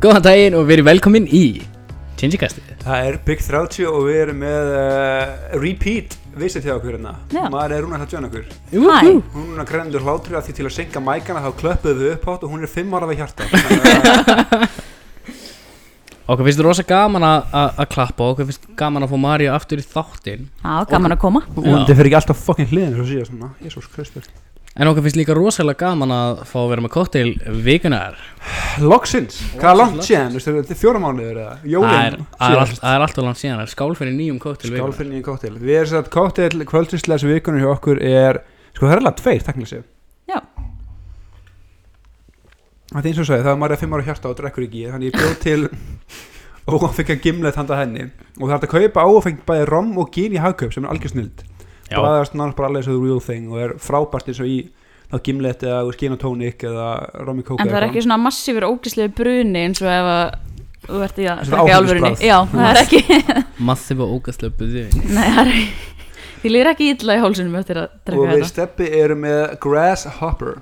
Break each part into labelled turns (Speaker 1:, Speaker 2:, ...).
Speaker 1: Góðan daginn og verið velkomin í Tjensikastu
Speaker 2: Það er Big 30 og við erum með uh, repeat visit hjá okkur hérna
Speaker 3: Já.
Speaker 2: Maður er Rúnar Halltjón okkur
Speaker 3: Hæ.
Speaker 2: Hún er núna grendur hlátri að því til að synga mækana þá klöppuðu við upp átt og hún er 5 ára við hjarta Þannig að-
Speaker 1: Okkur finnst rosa gaman að- að að klappa og Okkur finnst gaman að fá Maríu aftur í þáttinn
Speaker 3: Já, gaman að koma
Speaker 2: og vonandi fyrir ekki alltaf fucking hliðin svo síðan svona, Jésús Kristur
Speaker 1: En okkur finnst líka rosalega gaman að fá að vera með kokteil vikunar
Speaker 2: Loksins, hvað er langt síðan, veistu, þetta er fjóra mánuður eða
Speaker 1: Það er-
Speaker 2: Jólin,
Speaker 1: það er allt- það er alltaf langt síðan Það er skál fyrir nýjum kokteil vikunar
Speaker 2: skálfinni í kóttel Við erum satt kóttel, kvöldinsleis vikunum hjá okkur er, sko það er alveg tveir, takknilega séu
Speaker 3: Já.
Speaker 2: Það er eins og sagði, það er maður er 5 ára hjarta og drekkur ekki Þannig ég bjóð til óafengar gimlet handa henni Og það er hægt að kaupa óafengt bæði rom og gín í hagkaup sem er algjör snild
Speaker 1: Já,
Speaker 2: Bræðast nánast bara alveg svo the real thing og er frábært eins og í þá gimlet eða gin og tónik eða rom í kóka
Speaker 3: En það er
Speaker 2: eða
Speaker 3: ekki svona massífur ógislegu bruni eins og ef að þú ert í að
Speaker 2: Svona
Speaker 3: drekka í alvörunni
Speaker 2: áfengisbragð.
Speaker 3: Já, það er ekki
Speaker 1: massið og ógæslega buðið
Speaker 3: Nei, það er Því líður ekki illa í hálsunum eftir að
Speaker 2: eitthvað. Og
Speaker 3: drekka
Speaker 2: við
Speaker 3: þetta
Speaker 2: steppi erum með Grasshopper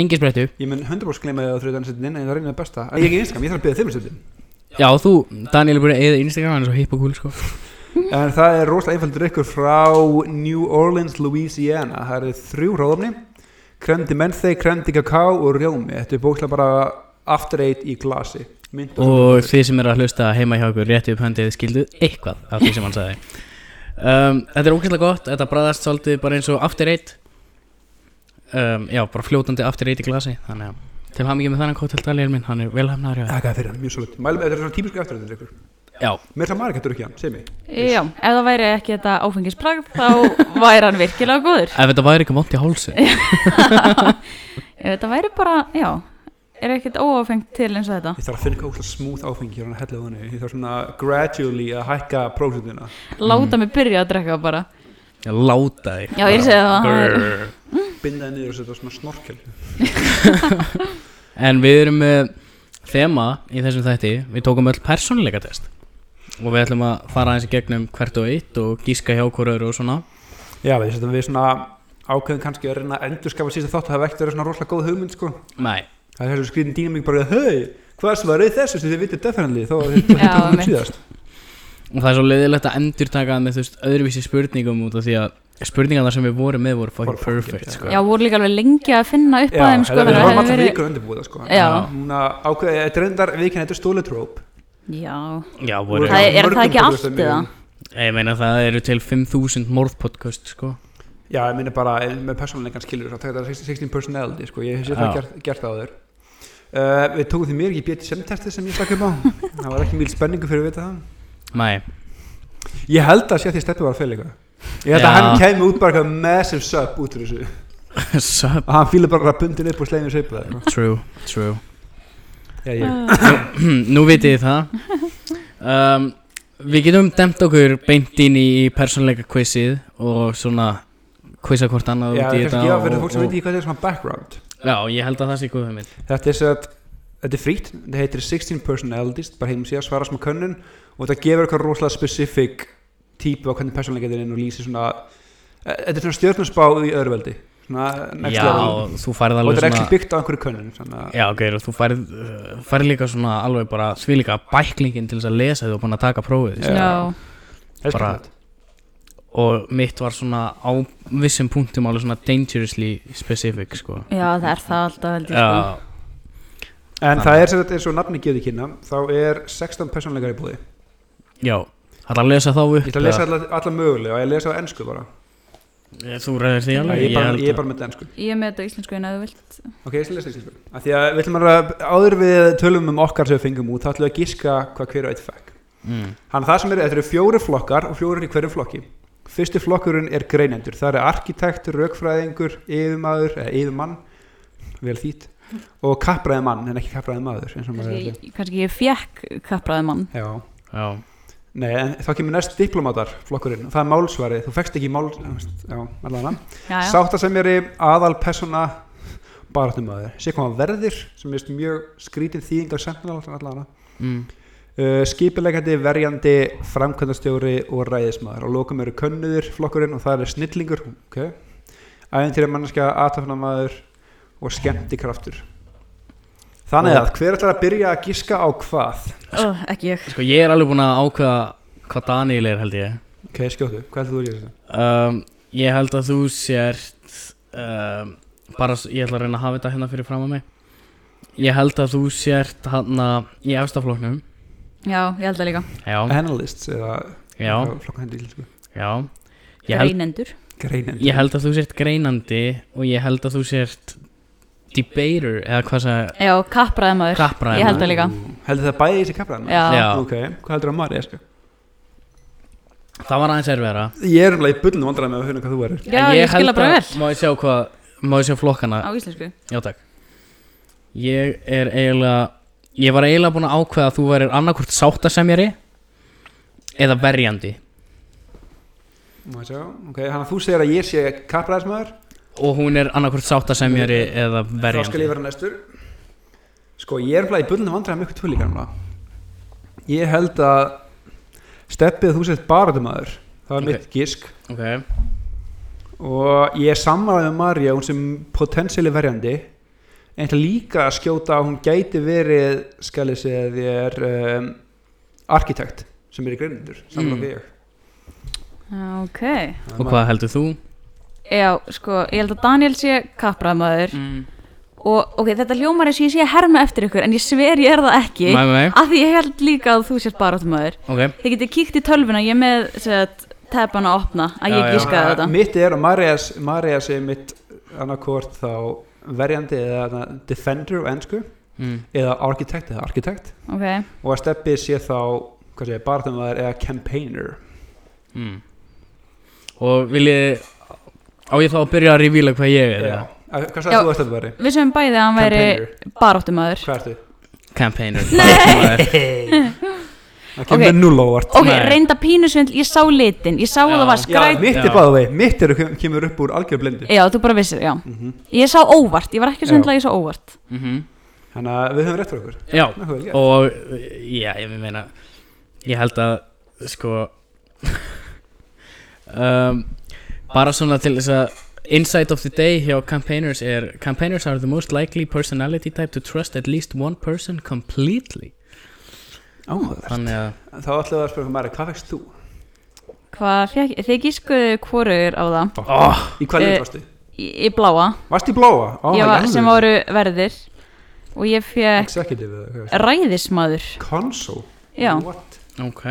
Speaker 1: Engi sprettu
Speaker 2: Ég mun 100% gleyma það á þrjóðan setin en það reynir það besta En ég er ekki einskam, ég þarf að byrja þeim setin
Speaker 1: Já, þú, Daniel er búin að eða Instagram hann er svo hipp og cool sko
Speaker 2: En það er rosalega einfaldur ykkur frá New Orleans, Louisiana. Það eru þrjú ráðofni, kremdi mennþei, kremdi kakao og rjómi. Þetta er bókslega bara after eight í glasi. Mynd
Speaker 1: og þið sem eru að hlusta heima hjá okkur rétti upp höndið skilduð eitthvað af því sem hann sagði um, Þetta er ógeðslega gott, þetta bræðast svolítið bara eins og after eight um, Já, bara fljótandi after eight í glasi Þannig að til hafa mikið með þannig kóttel Daniel minn, hann er velhæfnaður hjá þér.
Speaker 2: Það er fyrir hann, mjög svolítið. Mælum, þetta er svona típisk after eight ykkur.
Speaker 1: Já,
Speaker 2: Mér það maður ekki að drukja hann, segð mig.
Speaker 3: Já, ef það væri ekki þetta áfengisbragð þá væri hann virkilega góður
Speaker 1: ef þetta væri ekki vont í hálsu
Speaker 3: Ef þetta væri bara, já Er ekkert óáfengt til eins og þetta
Speaker 2: Ég þarf að finna eitthvað smúð áfengi hérna að hella á henni. Ég þarf svona gradually að hækka hérna. prósentuna.
Speaker 3: Láta mig byrja að drekka bara
Speaker 1: Ég láta þig
Speaker 3: Já, ég segi það, það er-
Speaker 1: Brr.
Speaker 2: Binda henni niður og setja svona snorkel.
Speaker 1: En við erum með þema í þessum þætti Við tókum öll persónuleika test Og við ætlum að fara aðeins í gegnum hvert og eitt Og gíska hjá hver öðru og svona
Speaker 2: Já, við setjum við svona ákveðum kannski að reyna að endurskafa síðasta þátt. Það hafi ekkert verið svona rosalega góð hugmynd, sko.
Speaker 1: Nei,
Speaker 2: Það er þessu skrýtin dýnamík bara Hei, hvað svarið þessu sem þið vitið definitely Þó að þetta
Speaker 3: Já,
Speaker 2: er hún
Speaker 3: mitt.
Speaker 2: síðast
Speaker 1: og það er svo leiðilegt að endurtaka með þú veist öðruvísi spurningum út af því að spurningarnar sem við vorum með voru fucking
Speaker 2: Voru fucking,
Speaker 1: perfect
Speaker 2: já.
Speaker 1: sko.
Speaker 3: Já, voru líka alveg lengi að finna upp að
Speaker 2: Já,
Speaker 3: þeim sko,
Speaker 2: það
Speaker 3: þannig að
Speaker 2: var
Speaker 3: hefði
Speaker 2: alltaf
Speaker 3: verið-
Speaker 2: vikur undirbúið það, sko
Speaker 3: Já.
Speaker 2: Núna ákveðið, þetta er endar við kynna þetta stóli tróp
Speaker 3: Já,
Speaker 2: sko.
Speaker 1: já voru,
Speaker 3: Það er- er
Speaker 2: Mörgum
Speaker 3: það ekki
Speaker 2: podcast
Speaker 3: allt
Speaker 2: sem
Speaker 3: eða?
Speaker 1: ég meina það eru til 5000 morðpodcast sko.
Speaker 2: Já, ég minna bara eh, með persónleikann skilur svo, Þetta er 16 personality, sko Ég hef sér
Speaker 1: Já.
Speaker 2: það gert, gert það áður uh, Við tókum því mér ekki BDSM-testið sem ég stakk upp á Það var ekki mjög spenningu fyrir að vita það
Speaker 1: nei,
Speaker 2: Ég held að sé að því steppi var að fela eitthvað Ég held að
Speaker 1: Já.
Speaker 2: hann kemi út bara eitthvað massive sub út úr þessu
Speaker 1: sub,
Speaker 2: Og hann fýla bara bundin upp og slegin í sveipu það
Speaker 1: true, true
Speaker 2: Já, ég
Speaker 1: nú vitið þið það um, við getum demt okkur beint inn í persónleika quizið og svona quizza hvort annað
Speaker 2: Já,
Speaker 1: út í
Speaker 2: kannski
Speaker 1: þetta
Speaker 2: gefa
Speaker 1: og,
Speaker 2: fyrir fólk sem veit
Speaker 1: og,
Speaker 2: ekki hvað þetta er svona background
Speaker 1: já, ég held að það sé góð hugmynd
Speaker 2: Þetta er, satt, þetta er frýtt, þetta heitir 16 personalities, bara heim síðan svara smá könnun og þetta gefur eitthvað rosalega specific típu á hvernig personleika þér inn og lýsir svona e- Þetta er svona stjórnarsbá í öðru veldi svona next
Speaker 1: já,
Speaker 2: level
Speaker 1: þú færið
Speaker 2: og
Speaker 1: alveg
Speaker 2: þetta er ekki byggt á einhverju könnun svona,
Speaker 1: Já, ok, og þú færð, uh, færð líka svona alveg bara svílíka bæklingin til þess að lesa því og búin að taka prófið
Speaker 2: Já.
Speaker 3: já,
Speaker 2: helst
Speaker 1: bara-
Speaker 2: þetta.
Speaker 1: og mitt var svona á vissum punktum alveg svona dangerously specific sko.
Speaker 3: já, það er það alltaf veldig sko.
Speaker 1: Já,
Speaker 2: En það er sem þetta eins og nafni gefið kynna þá er 16 personleikar í búði
Speaker 1: já, það er að lesa þá upp
Speaker 2: Ég ætla að lesa alla, alla mögulega og ég lesa á ennsku bara
Speaker 1: eða- Þú ræðir því alveg
Speaker 2: Ég er bara,
Speaker 1: held
Speaker 2: ég er
Speaker 1: að-
Speaker 2: bara með þetta ensku
Speaker 3: Ég er með þetta á íslensku en að þú vilt
Speaker 2: Ok, ég skal lesa íslensku Af Því að við ætlum að áður við tölum um okkar sem við fengum út þá ætlum við að giska hvað hver og eitt fekk
Speaker 1: mm.
Speaker 2: Þannig að það sem er, þetta eru fjóri flokkar og fjórir í hverjum flokki Fyrsti flokkurinn er greinendur Það er arkitekt, rökfræðingur, yfirmaður eða yfirmann, vel þýtt og kappræði mann, en ekki kappræði maður eins og maður er að segja.
Speaker 3: Kannski, kannski ég fekk kapraði mann
Speaker 2: Já,
Speaker 1: Já,
Speaker 2: nei, en þá kemur næst diplomatar flokkurinn og það er málsvarið, þú fekst ekki máls... Já, allavega
Speaker 3: já, já.
Speaker 2: Sáttasemjari, aðal persóna baráttumaður, sé hvað hann verðir sem er mjög skrítin þýðing á sentinel allavega
Speaker 1: mm.
Speaker 2: Uh, skipilegandi, verjandi, framkvæmdastjóri og ræðismæður og lokum eru könnuður flokkurinn og það er snillingur okay. æventýra mannskja, aðtöfnamaður og skemmtikraftur Þannig að hver ætlar að byrja að giska á hvað?
Speaker 3: oh, ekki ég
Speaker 1: Sko ég er alveg búin að ákveða hvað Daniel er held ég
Speaker 2: Ok, skjóttu, hvað ætlar þú að gera þetta?
Speaker 1: um, Ég held að þú sért um, bara, s- ég ætla að reyna að hafa þetta hérna fyrir fram að mig Ég held að þú sért hann að í efstaflóknum
Speaker 3: já, ég held það líka
Speaker 1: Já,
Speaker 2: Analysts eða
Speaker 1: já,
Speaker 2: Flokkan hendur íslensku
Speaker 1: já Ég held,
Speaker 3: reynendur
Speaker 2: Greinendur
Speaker 1: ég held að þú sért greinandi og ég held að þú sért debater eða hvað sagði
Speaker 3: já, kapraði maður
Speaker 1: Kappræðin.
Speaker 3: ég held það líka
Speaker 2: Heldur það bæði í sig kapraðan?
Speaker 3: já,
Speaker 1: Já.
Speaker 2: Ok, hvað heldur það Marja? Sko?
Speaker 1: Það var aðeins erfiðara
Speaker 2: Ég er umlega í bullum vandræði með að finna hvað þú erir
Speaker 1: En
Speaker 3: já ég, ég skilja
Speaker 1: held
Speaker 3: bara
Speaker 1: að-
Speaker 3: vel
Speaker 1: Má ég sjá hvað, má ég sjá flokkana
Speaker 3: á íslensku
Speaker 1: Já takk Ég er eiginlega Ég var eiginlega búin að ákveða að þú værir annarkvort sáttasemjari Eða verjandi
Speaker 2: Má ég sjá, ok, hann að þú segir að ég sé kapraðismæður
Speaker 1: Og hún er annarkvort sáttasemjari eða
Speaker 2: Þá skal
Speaker 1: verjandi
Speaker 2: ég vera næstur Sko, ég er umlega í bullum vandræði með ykkur tölíkar núna Ég held að Steppið að þú sett barðumæður Það var
Speaker 1: Ok.
Speaker 2: mitt gisk
Speaker 1: Ok,
Speaker 2: og ég samræði með Marja hún sem potensiali verjandi en það líka að skjóta að hún gæti verið skalið segja þér um, arkitekt sem er í greinundur samræði
Speaker 1: Mm.
Speaker 2: mm. ég
Speaker 3: ok
Speaker 1: og hvað heldur þú?
Speaker 3: já, sko, ég held að Daniel sé kapraði maður og ok, þetta hljómar eins og ég sé að herma eftir ykkur en ég sver ég er það ekki
Speaker 1: Mæ, mæ,
Speaker 3: af því ég held líka að þú sért barátt maður
Speaker 1: ok
Speaker 3: þið getið kíkt í tölvuna, ég er með sett, teppan að opna, að
Speaker 1: Já,
Speaker 3: ég
Speaker 1: já.
Speaker 3: gískaði þetta
Speaker 2: mitt er að Marja sé mitt annarkvort þá verjandi eða þarna defender á ennsku
Speaker 1: mm.
Speaker 2: eða arkitekt eða arkitekt
Speaker 3: ok,
Speaker 2: og að steppið sé þá hvað segja, barðumæður eða campaigner
Speaker 1: Mm. Og vil ég Á ég þá að byrja að revíla hvað ég er
Speaker 2: Já.
Speaker 1: eða?
Speaker 2: Að- hvað
Speaker 3: Já.
Speaker 2: sagði þú að steppið væri?
Speaker 3: við sem bæði að hann væri
Speaker 2: Campaigner,
Speaker 3: baráttumadur
Speaker 2: hvað ertu?
Speaker 1: Campaigner Nei
Speaker 2: Það kemur okay. null óvart
Speaker 3: ok,
Speaker 1: Nei.
Speaker 3: reynda pínusvindl, ég sá litin ég sá
Speaker 1: Já.
Speaker 3: að það var
Speaker 2: Já,
Speaker 3: skræt já,
Speaker 2: mitt er
Speaker 1: Já.
Speaker 2: báðu vei, mitt er kemur upp úr algjörblindi
Speaker 3: þú bara vissir, já
Speaker 2: mm
Speaker 3: ég sá óvart, ég var ekki að
Speaker 2: Já.
Speaker 3: svindla, ég sá óvart
Speaker 1: mm
Speaker 2: Mhm. Þannig að við höfum rétt fyrir okkur
Speaker 1: Já,
Speaker 2: Nokkuð vel gert.
Speaker 1: og já, ég meina ég held að sko um, bara svona til þess að insight of the day hjá campaigners er campaigners are the most likely personality type to trust at least one person completely
Speaker 2: Áhugavert.
Speaker 1: þannig að
Speaker 2: Þá ætlum við að spyrja Mari, hvað fækst þú?
Speaker 3: hvað fekk, þið gískuðu hvorugur á það
Speaker 1: oh,
Speaker 2: Í hvað
Speaker 3: Eh,
Speaker 2: lið varstu?
Speaker 3: í, í bláa,
Speaker 2: Varstu í bláa? Oh Ó,
Speaker 3: ég var, sem
Speaker 2: var
Speaker 3: voru verðir og ég fekk
Speaker 2: Executive eða hvað veist
Speaker 3: ræðismadur
Speaker 2: Console?
Speaker 3: já,
Speaker 2: What?
Speaker 1: ok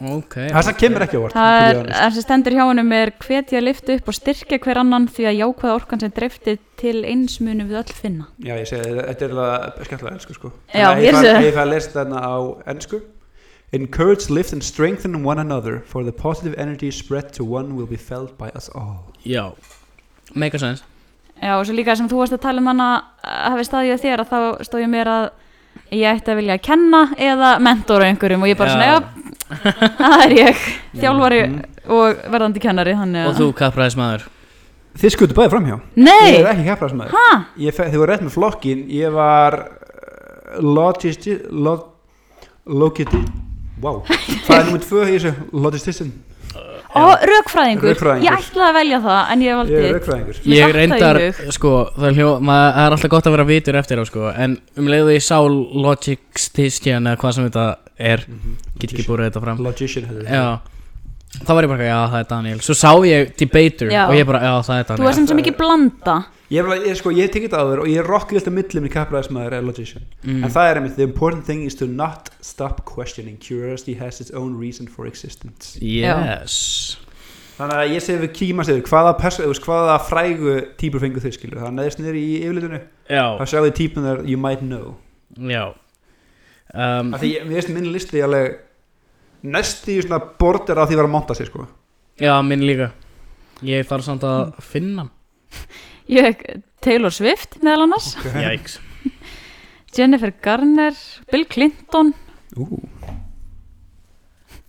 Speaker 1: ok
Speaker 2: Það sem kemur ekki á óvart
Speaker 3: það er,
Speaker 2: to be honest.
Speaker 3: það sem stendur hjá honum er hvetja að lifta upp og styrkja hver annan því að jákvæða orkan sem dreifti til eins munum við öll finna
Speaker 2: Já, ég segi það, þetta er alveg skemmtilega ennsku sko
Speaker 3: Já,
Speaker 2: Þannig að
Speaker 3: ég
Speaker 2: ég
Speaker 3: sé það.
Speaker 2: fæ- Ég fæ að lesa þarna á ennsku Encourage, lift and strengthen one another for the positive energy spread to one will be felt by us all
Speaker 1: já, make a sense
Speaker 3: Já, og svo líka sem þú varst að tala um hana að hafi staðið hjá þér að þá stóð ég mér að ég ætti að vilja að kenna eða mentora einhverjum og ég bara
Speaker 1: Já.
Speaker 3: svona, já, það er ég
Speaker 2: Mhm.
Speaker 3: þjálfari og verðandi kennari þannig
Speaker 1: og
Speaker 3: að,
Speaker 1: þú kapraðis maður
Speaker 2: Þið skutu bæði framhjá Ég er
Speaker 3: nei,
Speaker 2: ekki keppræðismæður
Speaker 3: hæ,
Speaker 2: Ég fe- Þið voru rétt með flokkin Ég var uh, Logisti log, Logiti Wow Það er nummið tvö í þessu Logististin
Speaker 3: og raukfræðingur.
Speaker 2: Rökfræðingur.
Speaker 3: ég ætlaði að velja það en ég
Speaker 2: Ég
Speaker 3: valdi
Speaker 2: er raukfræðingur
Speaker 1: Ég
Speaker 3: Mér datt það í
Speaker 1: reyndar,
Speaker 3: hug.
Speaker 1: sko, það er, hljó, maður, það er alltaf gott að vera vitur eftir á, sko En um leiðu ég sá Logistician eða hvað sem þetta er
Speaker 3: Mhm.
Speaker 1: Get ekki búið þetta fram
Speaker 2: Logician hefði
Speaker 1: Já, þá var ég bara, já, það er Daniel Svo sá ég Debater
Speaker 3: Já.
Speaker 1: og ég bara, já, það er
Speaker 3: þú
Speaker 1: Daniel
Speaker 3: varst sem sem ekki blanda
Speaker 2: Ég, var, ég, sko, ég hef tekið það áður og ég rokki alltaf millum í kappræðismæður eða logician En
Speaker 1: mm.
Speaker 2: það er einmitt The important thing is to not stop questioning Curiosity has its own reason for existence
Speaker 1: Yes
Speaker 2: Þannig að ég segi við kíma sig hvaða, perso- þú veist, hvaða frægu típur fengu þau skilur Það neðist niður í yfirlitinu
Speaker 1: Já,
Speaker 2: Það sjáðu típunar you might know
Speaker 1: já um,
Speaker 2: Af því ég, mér finnst minn listi alveg næstu í svona border af því að vera að monta sér sko
Speaker 1: Já, minn líka Ég þarf samt að finna hann
Speaker 3: ég fekk Taylor Swift meðal annars
Speaker 1: Jæks
Speaker 3: Jennifer Garner, Bill Clinton
Speaker 2: Ú.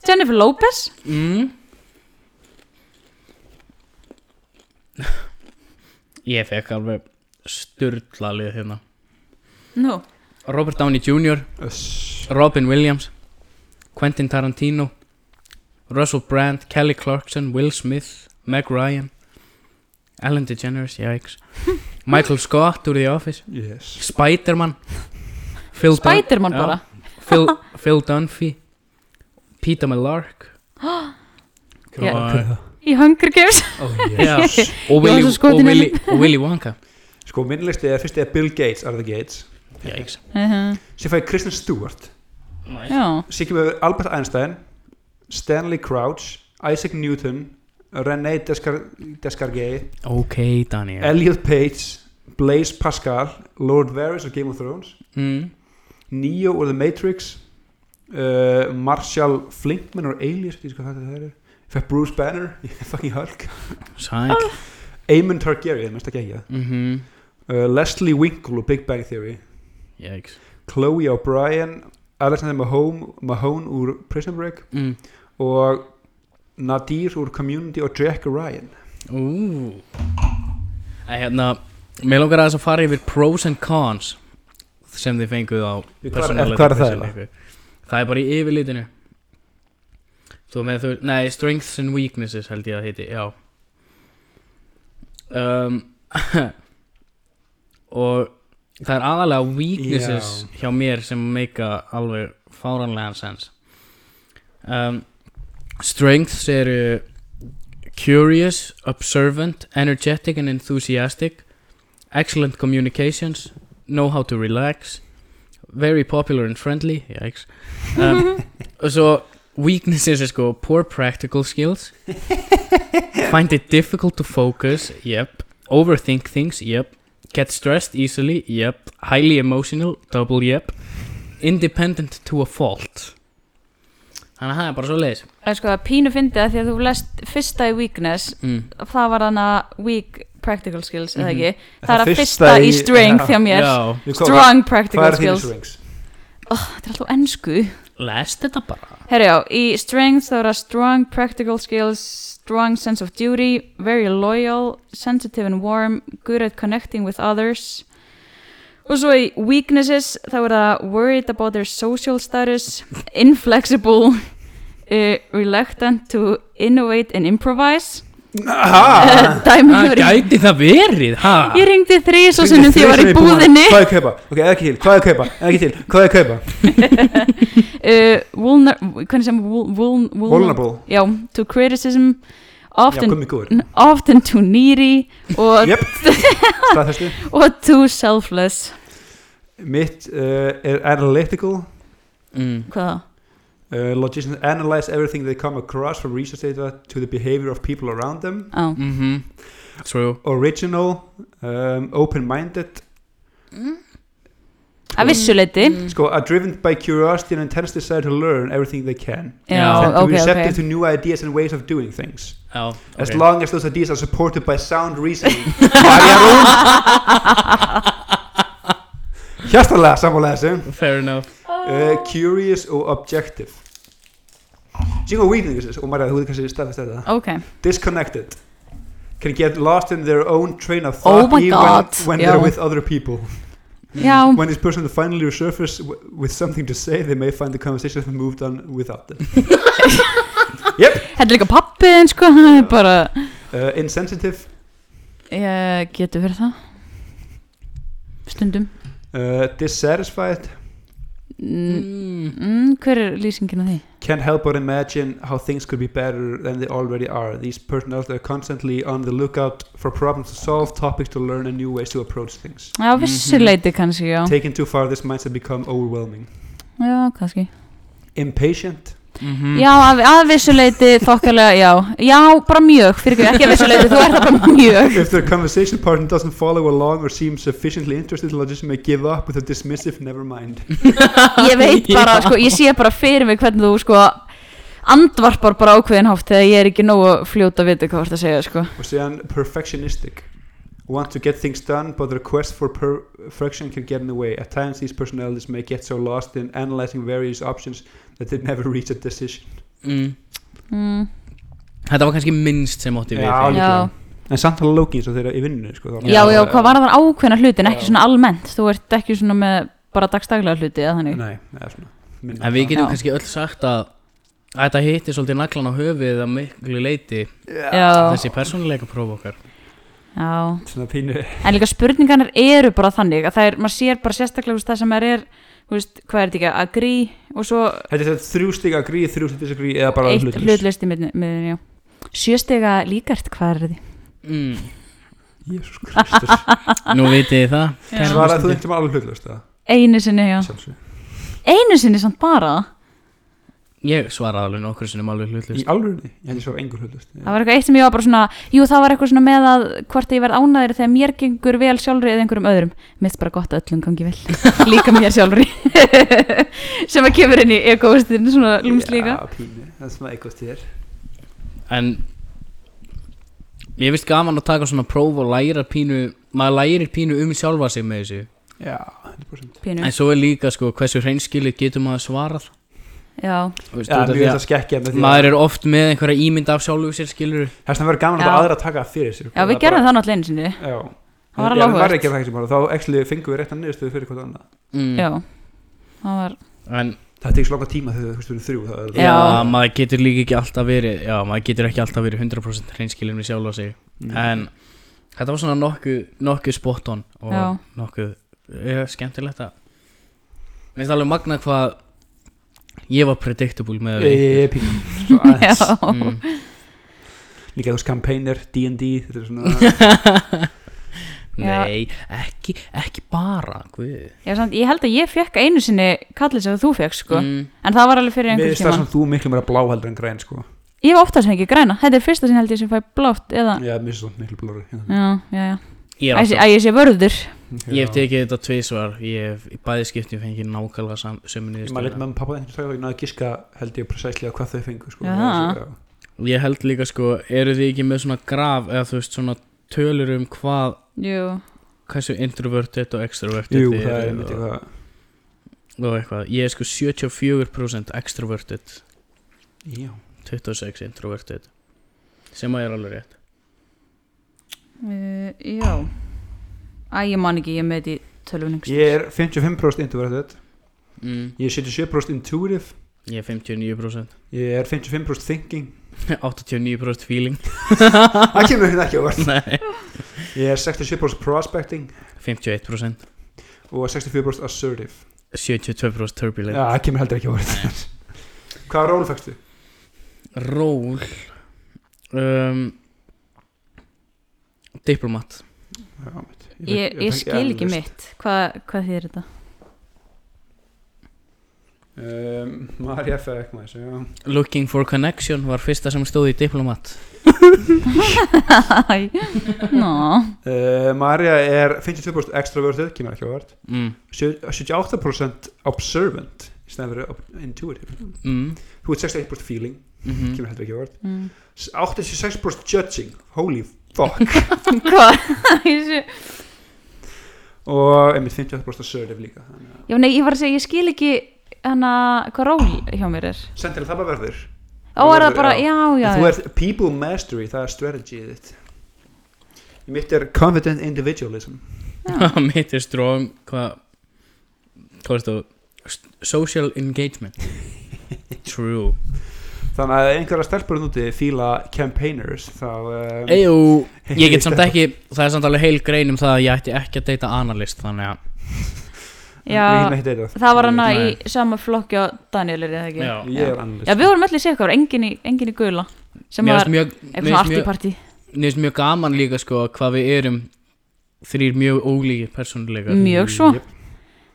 Speaker 3: Jennifer Lopez
Speaker 1: mm. Ég fekk alveg sturla lið hérna
Speaker 3: nú,
Speaker 1: Robert Downey Jr.,
Speaker 2: Öss.
Speaker 1: Robin Williams, Quentin Tarantino, Russell Brand, Kelly Clarkson, Will Smith, Meg Ryan, Ellen DeGeneres, jæks, Michael Scott úr The Office
Speaker 2: yes.
Speaker 1: Spiderman Phil, Dun
Speaker 3: Spiderman
Speaker 1: Já.
Speaker 3: bara
Speaker 1: Phil, Phil Dunphy Peter Mullark
Speaker 3: Ég-
Speaker 1: Og-
Speaker 2: Hver er það?
Speaker 3: í Hunger Games
Speaker 2: Oh,
Speaker 1: Já,
Speaker 2: yes.
Speaker 1: og Willy,
Speaker 3: Ég var svo skotin
Speaker 1: og,
Speaker 3: í
Speaker 1: Willy, og Willy Wonka
Speaker 2: Sko, minnlisti er fyrst eða Bill Gates Are the Gates
Speaker 1: Jæks.
Speaker 3: Mhm.
Speaker 2: Sér fæði Kristen Stewart
Speaker 3: Já,
Speaker 2: Sér kemur Albert Einstein Stanley Crouch Isaac Newton René Descar Descargay
Speaker 1: ok Daniel
Speaker 2: Elliot Page Blaise Pascal Lord Varys og Game of Thrones
Speaker 1: mm.
Speaker 2: Neo og The Matrix uh, Marshall Flinkman og Alias ég veit hvað þetta er Fætt Bruce Banner, fucking Hulk
Speaker 1: sæk
Speaker 2: Aemon Targaryen, mest ekki ekki
Speaker 1: mhm,
Speaker 2: uh, Leslie Winkle og Big Bang Theory
Speaker 1: jæks
Speaker 2: Chloe O'Brien Alexander Mahone, Mahone úr Prison Break
Speaker 1: mm.
Speaker 2: og Nadir úr Community og Jack Ryan
Speaker 1: Ú Það hérna Mér langar aðeins að fara yfir pros and cons sem þið fenguð á
Speaker 2: Hvað er-
Speaker 1: personality
Speaker 2: hvað er það
Speaker 1: quiz ykkar. Það er bara í yfirlitinu Þú með þú Nei, strengths and weaknesses held ég að heiti Já um, Og það er aðalega weaknesses hjá mér sem meika alveg fáranlegan sens um, Strengths eru curious, observant, energetic and enthusiastic, excellent communications, know how to relax, very popular and friendly, yikes. Um, og svo weaknesses er sko poor practical skills, find it difficult to focus, yep, overthink things, yep, get stressed easily, yep, highly emotional, double yep, independent to a fault. Þannig að það er bara svo leiðis.
Speaker 3: það er sko að pínu fyndið að því að þú lest fyrsta í Weakness
Speaker 1: Mm.
Speaker 3: það var hana Weak Practical Skills eða
Speaker 1: Mhm.
Speaker 3: ekki,
Speaker 2: Er
Speaker 3: það er að fyrsta í Strength hjá mér,
Speaker 1: Já,
Speaker 2: Við komum-
Speaker 3: Strong
Speaker 2: Hvað
Speaker 3: Practical
Speaker 2: er þínu
Speaker 3: Skills
Speaker 2: strengths?
Speaker 3: þetta er alltaf ennsku
Speaker 1: lest þetta bara.
Speaker 3: Herra já, í strength þá er að strong practical skills, strong sense of duty, very loyal, sensitive and warm, good at connecting with others. Og svo í weaknesses þá er það worried about their social status, inflexible, uh, reluctant to innovate and improvise. Eh,
Speaker 2: Aha!
Speaker 3: Dæmi
Speaker 1: Það
Speaker 3: fyrir.
Speaker 1: gæti það verið, ha?
Speaker 3: Ég ringdi þrís og sinnum því ég var í
Speaker 2: Þrisvar
Speaker 3: búðinni.
Speaker 2: Hvað er að kaupa? Ok, eða ekki til, hvað er að kaupa? Eða ekki til, hvað er að kaupa?
Speaker 3: Uh, vulner, hvernig sem vul, vul, vul,
Speaker 2: Vulnerable
Speaker 3: Já, to criticism,
Speaker 2: Já,
Speaker 3: often
Speaker 2: komið góður
Speaker 3: N- often too needy og,
Speaker 2: Jöp, staðfestu
Speaker 3: og too selfless
Speaker 2: Mitt uh, er analytical
Speaker 1: Mm.
Speaker 3: hvað
Speaker 2: uh, Logicians analyze everything they come across from research data to the behavior of people around them
Speaker 3: á
Speaker 1: Mm True.
Speaker 2: original, um, open-minded
Speaker 3: að vissuleiti
Speaker 2: sko, are driven by curiosity and intense desire to learn everything they can
Speaker 1: Já,
Speaker 3: já,
Speaker 2: and to
Speaker 3: ok,
Speaker 2: receptive
Speaker 3: ok
Speaker 2: to new ideas and ways of doing things
Speaker 1: Já,
Speaker 2: as
Speaker 1: ok.
Speaker 2: long as those ideas are supported by sound reasoning Var ég rúm? Hjartalega sammála þessu
Speaker 1: Fair enough.
Speaker 2: uh, Curious og objective Single weaknesses og maður að þú veit kannski staðfæst þetta
Speaker 3: ok,
Speaker 2: disconnected can get lost in their own train of
Speaker 3: Oh
Speaker 2: thought
Speaker 3: my
Speaker 2: even
Speaker 3: God,
Speaker 2: when
Speaker 3: já.
Speaker 2: they're with other people
Speaker 3: já
Speaker 2: when this person finally resurfaces w- with something to say they may find the conversation moved on without them
Speaker 3: þetta er líka pappin sko, hann er bara
Speaker 2: uh, insensitive
Speaker 3: ég getur verið það stundum
Speaker 2: uh, dissatisfied
Speaker 3: mm,
Speaker 1: Mm.
Speaker 3: mm, hver er lýsingin á því?
Speaker 2: can't help but imagine how things could be better than they already are these personalities are constantly on the lookout for problems to solve topics to learn and new ways to approach things
Speaker 3: já, vissuleiti kannski, já
Speaker 2: taken too far this mindset become overwhelming
Speaker 3: já, kannski
Speaker 2: impatient
Speaker 1: Mhm.
Speaker 3: já, að, að vissuleiti þokkalega, já já, bara mjög, fyrir ekki að vissuleiti þú ert það bara mjög
Speaker 2: If their conversation partner doesn't follow along or seem sufficiently interested, the logician may give up with a dismissive never mind.
Speaker 3: ég veit bara, sko, ég sé bara fyrir mig hvernig þú, sko andvarpar bara ákveðin hátt þegar ég er ekki nógu fljóta að vita hvað þú ert að segja, sko
Speaker 2: Og síðan perfectionistic. Want to get things done, but the request for per- perfection can get in the way. At times, these personalities may get so lost in analyzing various options that they never reach a decision.
Speaker 1: Mm.
Speaker 3: mm,
Speaker 1: Þetta var kannski minnst sem ótti við
Speaker 2: Já,
Speaker 1: þig.
Speaker 2: líklega.
Speaker 3: já,
Speaker 2: En samt hala Loki eins og þeirra í vinnunni, sko. þá-
Speaker 1: Já.
Speaker 3: já, já, hvað var það ákveðna hlutin,
Speaker 2: Já.
Speaker 3: ekki svona almennt þú ert ekki svona með bara dagstaglega hluti eða þannig,
Speaker 2: Nei, eða svona. minna.
Speaker 1: En við getum
Speaker 3: Já.
Speaker 1: kannski öll sagt að að þetta hitti svolítið naglan á höfuðið að miklu leiti
Speaker 3: já,
Speaker 1: þessi persónuleika próf okkar.
Speaker 3: já
Speaker 2: svona pínu
Speaker 3: En líka spurningarnar eru bara þannig að það er, maður sér bara sérstaklega þú veist, það sem maður er, þú veist, hvað er þetta ekki, agree og svo
Speaker 2: Þetta er þetta þrjú stiga agree, þrjú stiga disagree eða bara
Speaker 3: eitt
Speaker 2: hlutlaus.
Speaker 3: hlutlist í miðin, já. Sjöstega líkart, hvað er þið?
Speaker 1: mm.
Speaker 2: Jésús Kristus
Speaker 1: Nú vitið þið það
Speaker 3: Já.
Speaker 1: kæru
Speaker 2: Svaraði þú
Speaker 1: hlustendur.
Speaker 2: eitthvað alveg hlutlaust eða?
Speaker 3: Einu sinni, já.
Speaker 2: Sjálfsög
Speaker 3: Einu sinni samt bara.
Speaker 1: Ég svaraði alveg nokkru sinnum alveg
Speaker 2: Í
Speaker 1: hlutlust
Speaker 2: alvegni, ég held ég svo engur hlutlaust
Speaker 3: Það var eitthvað eitt sem ég var bara svona, jú það var eitthvað svona með að hvort að ég verð ánæður þegar mér gengur vel sjálfri eða einhverjum öðrum. Mér finnst bara gott að öllum gangi vel. Líka mér sjálfri. sem að kemur inn í egoistinn svona lúmslíka.
Speaker 2: Já, pínu, það er svona eitthvað styrir
Speaker 1: En Ég finnst gaman að taka svona próf og læra pínu Maður lærir pínu um sjálfa sig með þessu
Speaker 2: Já, 100%
Speaker 3: Pínu.
Speaker 1: En svo er líka sko hversu hreinskilið getur maður svarað
Speaker 3: Já.
Speaker 1: Þú veist,
Speaker 2: Já,
Speaker 1: út af
Speaker 2: mjög
Speaker 1: því
Speaker 2: þetta
Speaker 1: að
Speaker 2: skekkja með því
Speaker 1: Maður er oft með einhverja ímynd af sjálfu sér skilur
Speaker 2: Þess að verður gaman að
Speaker 3: Já.
Speaker 2: láta aðra að taka það fyrir sér
Speaker 3: Já, við gerðum það náttúrulega einu sinni.
Speaker 2: Já
Speaker 3: Það
Speaker 2: Já,
Speaker 3: var alveg
Speaker 2: það var
Speaker 3: áhugavert.
Speaker 2: ekki að það ekki sem bara, þá actually fengum við réttan niðurstöðu fyrir hvort annað
Speaker 1: mm.
Speaker 3: Já. Það var
Speaker 1: En
Speaker 2: Það tekur svo langa tíma þegar þú veist við erum þrjú það er-
Speaker 1: já.
Speaker 3: Já.
Speaker 1: maður getur líka ekki alltaf verið Já, maður getur ekki alltaf verið 100% hreinskilið með sjálfa sig
Speaker 2: Mm.
Speaker 1: En þetta var svona nokkuð nokku spot on Og
Speaker 3: Já.
Speaker 1: nokkuð eh, skemmtilegt að Mér finnst alveg magna hvað Ég var predictable með
Speaker 2: Ég ég er pínu svo
Speaker 3: Já,
Speaker 2: aðeins.
Speaker 1: mm.
Speaker 2: Líka þú veist campaigner, D&D Þetta er svona
Speaker 3: Já.
Speaker 1: Nei, ekki, ekki bara Guð
Speaker 3: já samt, ég held að ég fekk einu sinni kallið sem þú fekk sko
Speaker 1: mm.
Speaker 3: En það var alveg fyrir
Speaker 2: Mér
Speaker 3: einhvern
Speaker 2: finnst það
Speaker 3: tíma
Speaker 2: sem þú miklu meira blá heldur en græn sko
Speaker 3: Ég var oftast fengið græna, þetta er fyrsta sinni held ég sem fæ blátt eða
Speaker 2: Já, mér finnst það miklu blóri
Speaker 3: Já, já, já
Speaker 1: Ég, er
Speaker 3: Æ,
Speaker 1: alltaf-
Speaker 3: sé- Æ, ég sé vörður
Speaker 1: ég hef tekið þetta tvísvar Ég hef í bæði skipti fengið nákvæmlega sam, sömu
Speaker 2: Ég maður leitt
Speaker 1: niðurstöðu
Speaker 2: með pappa þenni sagði að ég náði að giska held ég precislega hvað þau fengu sko.
Speaker 3: Já.
Speaker 2: Já.
Speaker 1: Ég held líka sko, eru þið ekki með svona graf eða þú veist svona tölur um hvað
Speaker 3: Jú,
Speaker 1: hversu introvertið og extrovertið
Speaker 2: Jú,
Speaker 1: þið
Speaker 2: það er
Speaker 1: eruð
Speaker 2: einmitt
Speaker 1: og,
Speaker 2: eitthvað
Speaker 1: og eitthvað Ég er sko 74% extrovertið
Speaker 2: Já,
Speaker 1: 26 introvertið sem að er alveg rétt
Speaker 3: uh, já Æ, ég man ekki, ég er með þetta í tölvunning
Speaker 2: Ég er 55% introverted
Speaker 1: mm.
Speaker 2: Ég er 77% intuitive
Speaker 1: Ég er 59%
Speaker 2: Ég er 55% thinking
Speaker 1: 89% feeling
Speaker 2: Það kemur hérna ekki á vörð
Speaker 1: Nei.
Speaker 2: Ég er 67% prospecting
Speaker 1: 51%
Speaker 2: og 64% assertive
Speaker 1: 72% turbulent
Speaker 2: Já, það kemur heldur ekki á vörð Hvaða ról fækstu?
Speaker 1: Ról um, Diplomat
Speaker 2: Já, mitt.
Speaker 3: Ég, ég skil ekki mitt, hvað, hvað þýðir þetta?
Speaker 2: um, Marja fekk maður þessu, já.
Speaker 1: Looking for connection var fyrsta sem stóð í Diplomat
Speaker 3: Æ, ná,
Speaker 2: uh, Marja er 52% extroverted kemur ekki á vörð
Speaker 1: mm.
Speaker 2: 78% observant í stæðan fyrir ob- intuitive
Speaker 1: Mm.
Speaker 2: Þú ert 61% feeling,
Speaker 1: mhm.
Speaker 2: kemur heldur ekki á vörð
Speaker 3: mm.
Speaker 2: 86% judging, holy fuck
Speaker 3: hvað, ég sé
Speaker 2: og einmitt 58% assertive líka þannig að-
Speaker 3: Já, nei, ég var að segja, ég skil ekki hana, hvað ról hjá mér er
Speaker 2: sendilega það bara verður
Speaker 3: Ó, er það bara,
Speaker 2: Já.
Speaker 3: já, já,
Speaker 2: En
Speaker 3: já.
Speaker 2: þú ert people mastery, það er strategy þitt Í mitt er confident individualism
Speaker 1: Mitt er strong Hvað Hvað er þetta Social engagement True
Speaker 2: þannig að einhverja stelpurinn úti fíla campaigners þá um,
Speaker 1: Eyjú Ég get samt ekki Það er samt alveg heil grein um það að ég ætti ekki að deyta analyst þannig að
Speaker 3: Já,
Speaker 2: já,
Speaker 3: Það var hann í
Speaker 1: Nei.
Speaker 3: sama flokki á Daniel er það ekki?
Speaker 1: Já.
Speaker 2: ég er annars
Speaker 3: Já, við vorum öll í sikkar, engin í, engin í gula sem
Speaker 1: Mér
Speaker 3: var
Speaker 1: finnst mjög
Speaker 3: eitthvað
Speaker 1: mér
Speaker 3: svona
Speaker 1: finnst mjög-
Speaker 3: artiparti
Speaker 1: Mér finnst mjög gaman líka sko hvað við erum þrýr mjög ólíkir persónuleikar
Speaker 3: mjög svo
Speaker 2: Jep.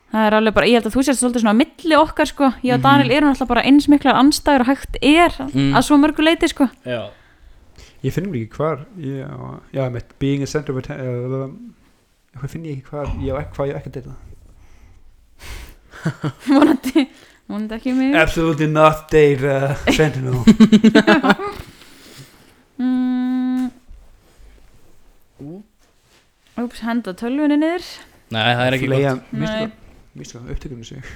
Speaker 3: Það er alveg bara, ég held að þú sérst svolítið svona á milli okkar sko, ég og
Speaker 1: Mhm.
Speaker 3: Daniel erum alltaf bara eins miklar anstæður og hægt er
Speaker 1: Mm.
Speaker 3: að svo mörgu leiti sko
Speaker 1: Já
Speaker 2: ég finnum ekki hvar ég á- já, mitt, being a center of attention uh, hvað finn ég ekki hvar ég á ekki hvað ég á ekki að deyta
Speaker 3: vonandi, vonandi ekki mig
Speaker 2: absolutely not data sentinel
Speaker 3: mm. Úps, henda tölvunni niður
Speaker 1: Nei, það er ekki gott
Speaker 3: Nei,
Speaker 2: místu það upptökunum sig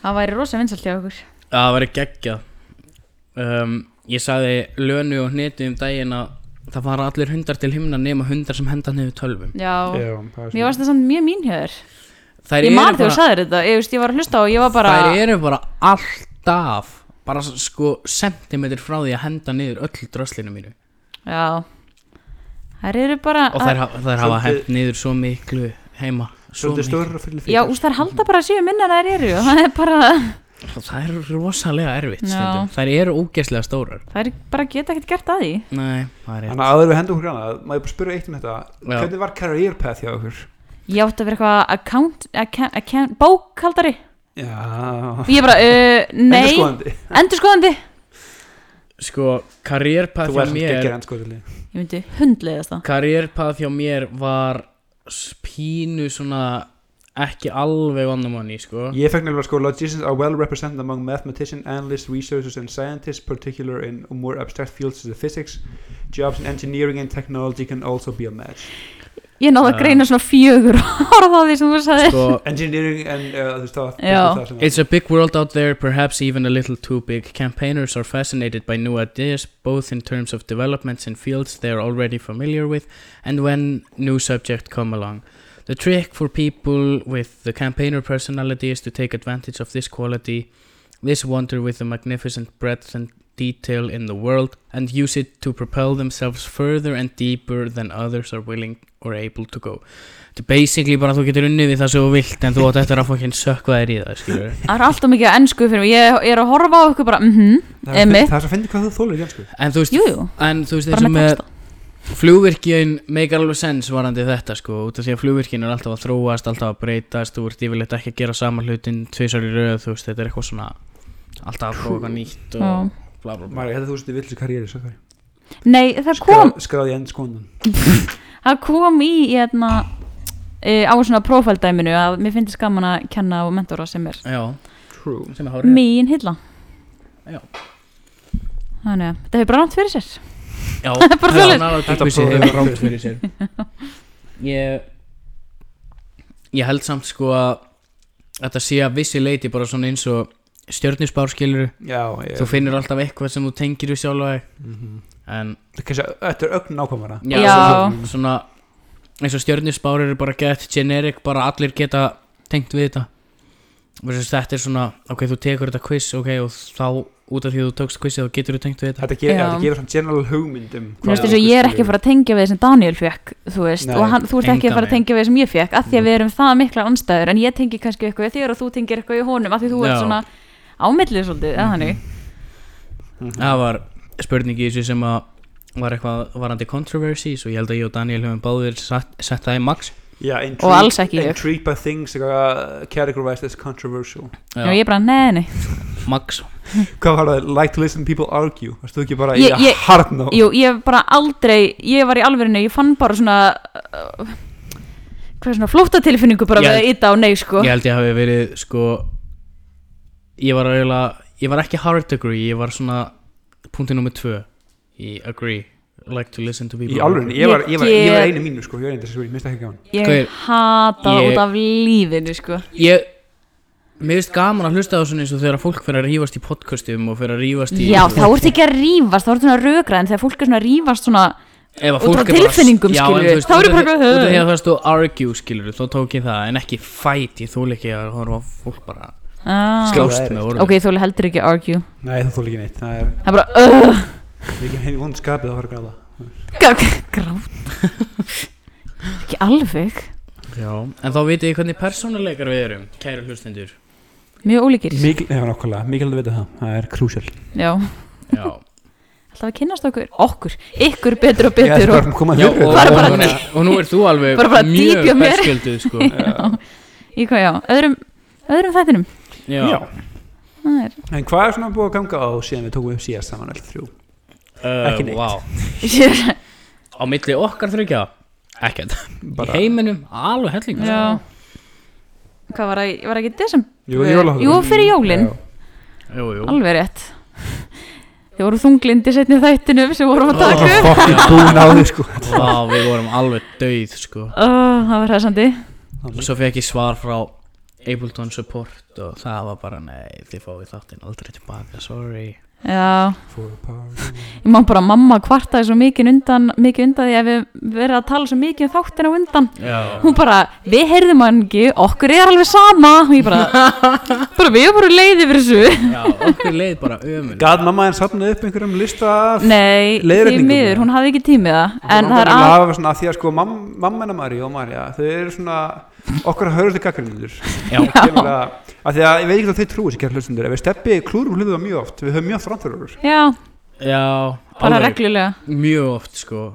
Speaker 3: það væri rosa vinsalt hjá okkur
Speaker 1: Það væri geggjað um, Ég sagði lönu og hniti um daginn að það fara allir hundar til himna nema hundar sem henda niður tölvum
Speaker 3: Já,
Speaker 2: Já, það er
Speaker 3: mér
Speaker 2: svona-
Speaker 3: varst það samt mjög mín hjá þér
Speaker 1: Þær
Speaker 3: Ég
Speaker 1: eru
Speaker 3: man þegar
Speaker 1: bara-
Speaker 3: þú sagðir þetta, ég, veist, ég var að hlusta og ég var bara
Speaker 1: Þær eru bara alltaf bara s- sko sentimetr frá því að henda niður öll dröslinu mínu
Speaker 3: Já þær eru bara
Speaker 1: og þær, ha- þær hafa
Speaker 2: Svolítið-
Speaker 1: hent niður svo miklu heima svo
Speaker 2: Svolítið
Speaker 1: miklu.
Speaker 2: stórar og fyrir
Speaker 3: Já, úst, þær halda bara að séu minna en þær eru og það er bara,
Speaker 1: það er rosalega erfitt
Speaker 3: Já.
Speaker 1: stundum. þær eru ógeðslega stórar
Speaker 3: þær bara geta ekkert gert að því
Speaker 1: nei, það er rétt
Speaker 2: Þannig að áður við hendum okkur annað, maður bara spyrja eitt um þetta
Speaker 1: Já.
Speaker 2: Hvernig var career path hjá okkur?
Speaker 3: Ég átti að vera eitthvað account, account, account bókhaldari
Speaker 2: Já
Speaker 3: og ég bara, uh, nei,
Speaker 2: Endurskoðandi.
Speaker 3: endurskoðandi
Speaker 1: sko, karriérpað
Speaker 2: Þú
Speaker 1: hjá
Speaker 2: ert
Speaker 1: mér
Speaker 2: geggjur endurskoðandi
Speaker 3: Ég myndi hundleiðast það
Speaker 1: karriérpað hjá mér var s- pínu svona ekki alveg vann um hann í sko
Speaker 2: Ég fekk nefnilega sko Logicians are well represented among mathematicians, analysts, researchers and scientists particular in more abstract fields such as physics Jobs in engineering and technology can also be a match
Speaker 3: Ég náði að
Speaker 1: Já.
Speaker 3: greina svona fjögur orð á því sem þú sagði
Speaker 1: sko,
Speaker 2: Engineering and uh, þú veist það
Speaker 3: Já.
Speaker 2: það sem-
Speaker 1: It's a big world out there, perhaps even a little too big. Campaigners are fascinated by new ideas, both in terms of developments in fields they are already familiar with and when new subjects come along. The trick for people with the campaigner personality is to take advantage of this quality, this wonder with the magnificent breadth and detail in the world, and use it to propel themselves further and deeper than others are willing or able to go. Þetta er basically bara að þú getur unnið við það sem þú vilt en þú átt eftir að fokkin sökva þér í það, skilur
Speaker 3: Það er alltaf mikið á ennsku fyrir mig Ég ég er að horfa á ykkur bara, mhm,
Speaker 2: Það er það er
Speaker 3: Einmitt.
Speaker 2: svo að finna hvað þú þólar í ennsku
Speaker 1: En þú veist,
Speaker 3: jú, jú,
Speaker 1: en þú veist
Speaker 3: bara
Speaker 1: þessu
Speaker 3: með
Speaker 1: með
Speaker 3: texta
Speaker 1: flugvirkjun meikar alveg sens varandi þetta sko út af því að flugvirkjun er alltaf að þróast, alltaf að breytast þú ert yfirleitt ekki að gera sama hlutin tvisar í röð, þú veist, þetta er eitthvað svona alltaf að prófa eitthvað nýtt og
Speaker 3: Já.
Speaker 1: bla bla bla
Speaker 2: Mæri, þetta þú veist þið villis karrieri svo færi
Speaker 3: Nei, það kom,
Speaker 2: Skráði endurskoðandan
Speaker 3: það kom í hérna, e, á svona prófældæminu að mér finnst gaman að kenna og mentora sem er
Speaker 1: Já,
Speaker 2: True
Speaker 1: sem er hárið
Speaker 3: mín hilla
Speaker 1: Já.
Speaker 3: Þannig að þetta hefur bara nátt fyrir sér
Speaker 1: Já, já,
Speaker 3: bara svoleiðis.
Speaker 1: nálægt
Speaker 2: Þetta
Speaker 1: Bubbi sé
Speaker 2: prófaði
Speaker 1: hefur
Speaker 2: rangt
Speaker 1: rangt fyrir sér Ég Ég held samt sko að Þetta sé að vissi leiti bara svona eins og stjörnusbárskilur
Speaker 2: Já, ég
Speaker 1: Þú finnur alltaf eitthvað sem þú tengir við sjálf og
Speaker 2: Mhm.
Speaker 1: En
Speaker 2: Það er kannski- Þetta er ögn nákvæmara
Speaker 1: já,
Speaker 3: Já.
Speaker 1: Svona, svona eins og stjörnusbár eru bara gett generic, bara allir geta tengt við þetta Versus þetta er svona, ok, þú tekur þetta quiz ok, og þá út af því að þú tókst quizið þá getur þú tengt við þetta
Speaker 2: Þetta gefur,
Speaker 3: Já.
Speaker 2: þetta gefur svona general hugmynd um
Speaker 3: Þú veist, eins og ég er ekki að fara að tengja við það sem Daniel fekk, þú veist,
Speaker 2: Nei,
Speaker 3: og hann, þú ert ekki að
Speaker 1: engan
Speaker 3: fara að
Speaker 1: veginn.
Speaker 3: tengja við það sem ég fekk, af því að við erum það mikla anstæður, en ég tengi kannski eitthvað við þér og þú tengir eitthvað í honum, af því þú
Speaker 1: Já.
Speaker 3: ert
Speaker 1: Mhm,
Speaker 3: svona ámillið svolítið, eða þannig.
Speaker 1: Það var spurning í þessu sem að var eitthvað varandi controversies og ég held að ég og Daniel höfum báðir sett, sett það í max
Speaker 2: Já, intrigued,
Speaker 3: Og alls ekki ég.
Speaker 2: Intrigued by things uh, categorized as controversial
Speaker 3: Og ég bara, nei, nei,
Speaker 1: max
Speaker 2: Hvað var það? Like to listen people argue Varstu ekki bara
Speaker 3: Ég-
Speaker 2: í
Speaker 3: ég-
Speaker 2: hard no
Speaker 3: jú, ég hef bara aldrei, ég var í alverðinu, ég fann bara svona, uh, hvað er svona, flóttatilfinningu bara
Speaker 1: Ég-
Speaker 3: með ytta og nei, sko.
Speaker 1: Ég held ég hafi verið sko Ég var eiginlega Ég var ekki hard agree Ég var svona Punktið nummer tvö Í agree Like to listen to people
Speaker 2: Í alveg, ég var, ég var, ég var
Speaker 3: Ég-
Speaker 2: einu mínu sko Ég var einu þessi, ég misti ekki gaman
Speaker 1: Gaur,
Speaker 3: Ég hata það
Speaker 1: ég-
Speaker 3: út af lífinu, sko.
Speaker 1: Ég Mér finnst gaman að hlusta á svona eins og þegar fólk fyrir að rífast í podcastum og fyrir að rífast í
Speaker 3: Já, þá ert ekki að rífast, þá ert svona rökraðin, þegar fólk er svona að rífast svona,
Speaker 1: Ef að
Speaker 3: út
Speaker 1: fólk
Speaker 3: frá
Speaker 1: er bara-
Speaker 3: tilfinningum,
Speaker 1: Já,
Speaker 3: skilurðu.
Speaker 1: en þú veist,
Speaker 3: Þá
Speaker 1: út
Speaker 3: er
Speaker 1: af
Speaker 3: bara
Speaker 1: því-
Speaker 3: eitthvað-
Speaker 1: Út af því að það stóð argue skilur Þá tók ég það en ekki fight Ég þúl ekki að horfa á fólk bara
Speaker 3: ah.
Speaker 2: Skjá-
Speaker 1: Slást með orðum
Speaker 3: Ok, þú heldur ekki argue
Speaker 2: Nei, það þóla ekki neitt Það er
Speaker 3: Það er bara uh,
Speaker 2: ekki henni vond skapið að horfa gráða
Speaker 3: Grátt Ekki alveg
Speaker 1: Já, en þá vitið ég hvernig persónuleikar við erum Kæru hlustendur
Speaker 3: Mjög ólíkir
Speaker 2: Mikil, já, nákvæmlega, mikilvægt að vita það Það er crucial
Speaker 3: Já
Speaker 1: Já
Speaker 3: Alltaf að kynnast okkur Okkur Ykkur betur og
Speaker 2: Ég ætti
Speaker 3: betur
Speaker 2: bara
Speaker 3: og,
Speaker 2: að koma
Speaker 1: Já,
Speaker 2: fyrir
Speaker 1: og, og,
Speaker 3: Bara- bara-
Speaker 1: og, nú- og nú ert þú alveg
Speaker 3: Bara- bara
Speaker 1: mjög
Speaker 3: dýpja mér.
Speaker 1: berskjölduð sko.
Speaker 3: já. Í hvað já Öðrum Öðrum þættinum
Speaker 1: Já.
Speaker 2: Já.
Speaker 3: Það er
Speaker 2: En hvað er svona búið að ganga á síðan við tókum við síðast saman öll þrjú?
Speaker 1: Uh,
Speaker 2: Ekki neitt.
Speaker 1: vá.
Speaker 3: Sér-
Speaker 1: Á milli okkar þryggja Ekkert Í
Speaker 2: Bara,
Speaker 1: heiminum alveg hellingur
Speaker 3: Já Hvað var það í- Var það ekki í desember?
Speaker 2: jú, jólahöfum
Speaker 3: Jú, fyrir jólin
Speaker 2: Já.
Speaker 1: Jú, jú
Speaker 3: Alveg rétt Þið voru þunglindi setni þættinum sem vorum að taka upp
Speaker 2: Fokkin búin á því sko
Speaker 1: Vá, við vorum alveg dauð sko
Speaker 3: oh, Það var hæsandi
Speaker 1: Og svo fekk ég svar frá Ableton Support og það var bara nei, þið fáið þáttinn aldrei tilbaka, sorry
Speaker 3: já,
Speaker 2: For a party.
Speaker 3: ég man bara að mamma kvartaði svo mikið undan, mikið undan því að við verðum að tala svo mikið um þáttina á undan
Speaker 1: Já,
Speaker 3: hún bara, við heyrðum hann ekki okkur er alveg sama og ég bara, bara við erum bara leiði fyrir þessu
Speaker 1: já, okkur leið bara ömul
Speaker 2: Gat mamma henn safnaði upp einhverjum lista af
Speaker 3: nei, því
Speaker 2: Leiðréttingum,
Speaker 3: miður,
Speaker 2: já.
Speaker 3: hún hafði ekki tímið það en það er
Speaker 2: að
Speaker 3: að,
Speaker 2: lafa svona af því að sko mam, mamma hennar Marí og Marja þau eru svona okkar hörðu gaggrindur
Speaker 1: Já.
Speaker 2: af því að ég veit ekki hvað þau trúi sér kæra hlustundur ef við steppi klúrum hlutuða mjög oft við höfum mjög oft rann fyrir okkur
Speaker 3: já,
Speaker 1: Já,
Speaker 3: bara
Speaker 1: alveg,
Speaker 3: reglulega
Speaker 1: mjög oft sko Og,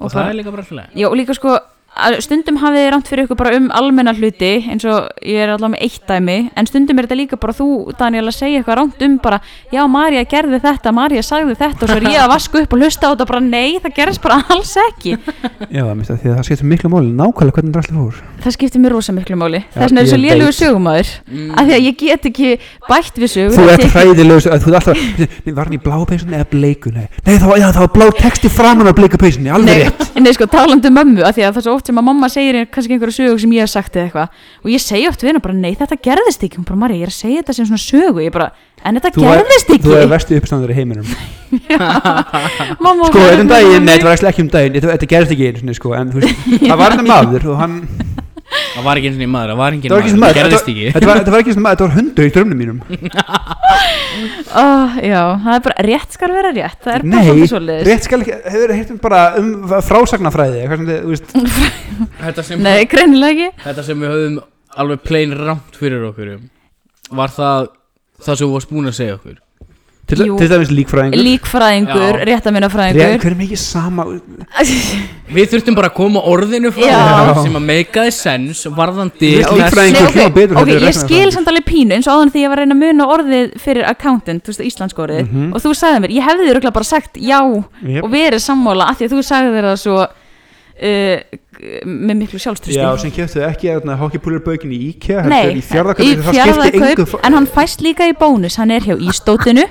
Speaker 3: Og
Speaker 1: það
Speaker 3: bara-
Speaker 1: er líka bara alltaf
Speaker 3: já, og líka sko, að stundum hafið þið rámt fyrir ykkur bara um almenna hluti eins og ég er allavega með eitt dæmi en stundum er þetta líka bara þú, Daniel, að segja eitthvað rámt um bara, já, Marja gerði þetta Marja sagði þetta og svo er ég að vaska upp og hlusta á þetta bara, nei, það gerist bara alls ekki
Speaker 2: já, minnst, því að það skiptir miklu máli nákvæmlega hvernig drasli fór
Speaker 3: það skiptir mér rosa miklu máli
Speaker 2: Já,
Speaker 3: þess vegna er ég svo
Speaker 2: ég
Speaker 3: lélugur
Speaker 2: veit.
Speaker 3: sögumæður
Speaker 1: Mm.
Speaker 3: af því að ég get ekki bætt við sögur
Speaker 2: þú
Speaker 3: Ég
Speaker 2: ert
Speaker 3: get-
Speaker 2: hræðilegs þú ert alltaf nei, var hann í blá peysunni eða bleiku nei, nei þá, já, þá var blá texti framan á bleiku peysunni alveg
Speaker 3: Nei,
Speaker 2: rétt
Speaker 3: en nei, sko, talandi um mömmu af því að það er svo oft sem að mamma segir er kannski einhverja sögur sem ég hef sagt eða eitthvað og ég segi oft við hennar bara, nei, þetta gerðist ekki hún bara, Marja, ég er að segja þetta sem svona sögu ég bara, en þetta
Speaker 2: Þú er-
Speaker 3: gerðist
Speaker 2: þú er
Speaker 3: ekki
Speaker 2: vestu uppstandur í heiminum
Speaker 3: mamma
Speaker 2: sko,
Speaker 3: var-
Speaker 2: þetta um daginn, nei, þetta var ekki um daginn þetta þetta gerðist ekki einu sinni, sko, en þú veist, það var þetta maður og hann,
Speaker 1: Það var ekki eins og nýjum maður, það var ekki
Speaker 2: þetta
Speaker 1: eins og
Speaker 2: var ekki svona
Speaker 1: maður,
Speaker 2: maður
Speaker 1: það gerðist
Speaker 2: þetta-
Speaker 1: ekki
Speaker 2: þetta var- þetta var ekki svona maður, þetta var hundu í drömnum mínum
Speaker 3: Ah, já, það er bara, rétt skal vera rétt það er bara
Speaker 2: Nei,
Speaker 3: svolítið svolítið
Speaker 2: rétt skal ekki, hefur heitum bara um frásagnafræði, eitthvað sem þið, þú veist
Speaker 1: þetta sem,
Speaker 3: nei, greinilega ekki
Speaker 1: þetta sem við höfum alveg plain rámt fyrir okkur um, Var það það sem þú varst búin að segja okkur
Speaker 2: til,
Speaker 3: Jú.
Speaker 2: til dæmis líkfræðingur
Speaker 3: líkfræðingur,
Speaker 1: Já.
Speaker 2: Rétt,
Speaker 3: réttaminafræðingur
Speaker 2: hver er mikið sama
Speaker 1: Við þurftum bara að koma orðinu frá
Speaker 3: Já.
Speaker 1: þér sem að meikaði sens varðandi
Speaker 2: Vill
Speaker 1: þess-
Speaker 2: líffræðing-
Speaker 3: Nei,
Speaker 2: Einhver
Speaker 3: ok,
Speaker 2: hljóma betur
Speaker 3: ok,
Speaker 2: heldur en
Speaker 3: ég
Speaker 2: resten af
Speaker 3: skil
Speaker 2: framtíð.
Speaker 3: samt alveg pínu eins og áðan því ég var að reyna að muna orðið fyrir accountant, þú veist, íslensk orðið og þú sagði mér, ég hefði þér örugglega bara sagt já
Speaker 2: Mhm. Jep.
Speaker 3: og verið sammála af því að þú sagði þér það svo uh, með miklu sjálfströsti
Speaker 2: Já, sem keftuðu ekki að hockeypúlur baukinn í IKEA heldur
Speaker 3: Nei,
Speaker 2: í fjárðakaup, það skipti engu
Speaker 3: fjárðakaup en hann fæst líka í bónus, hann er hjá ístótinu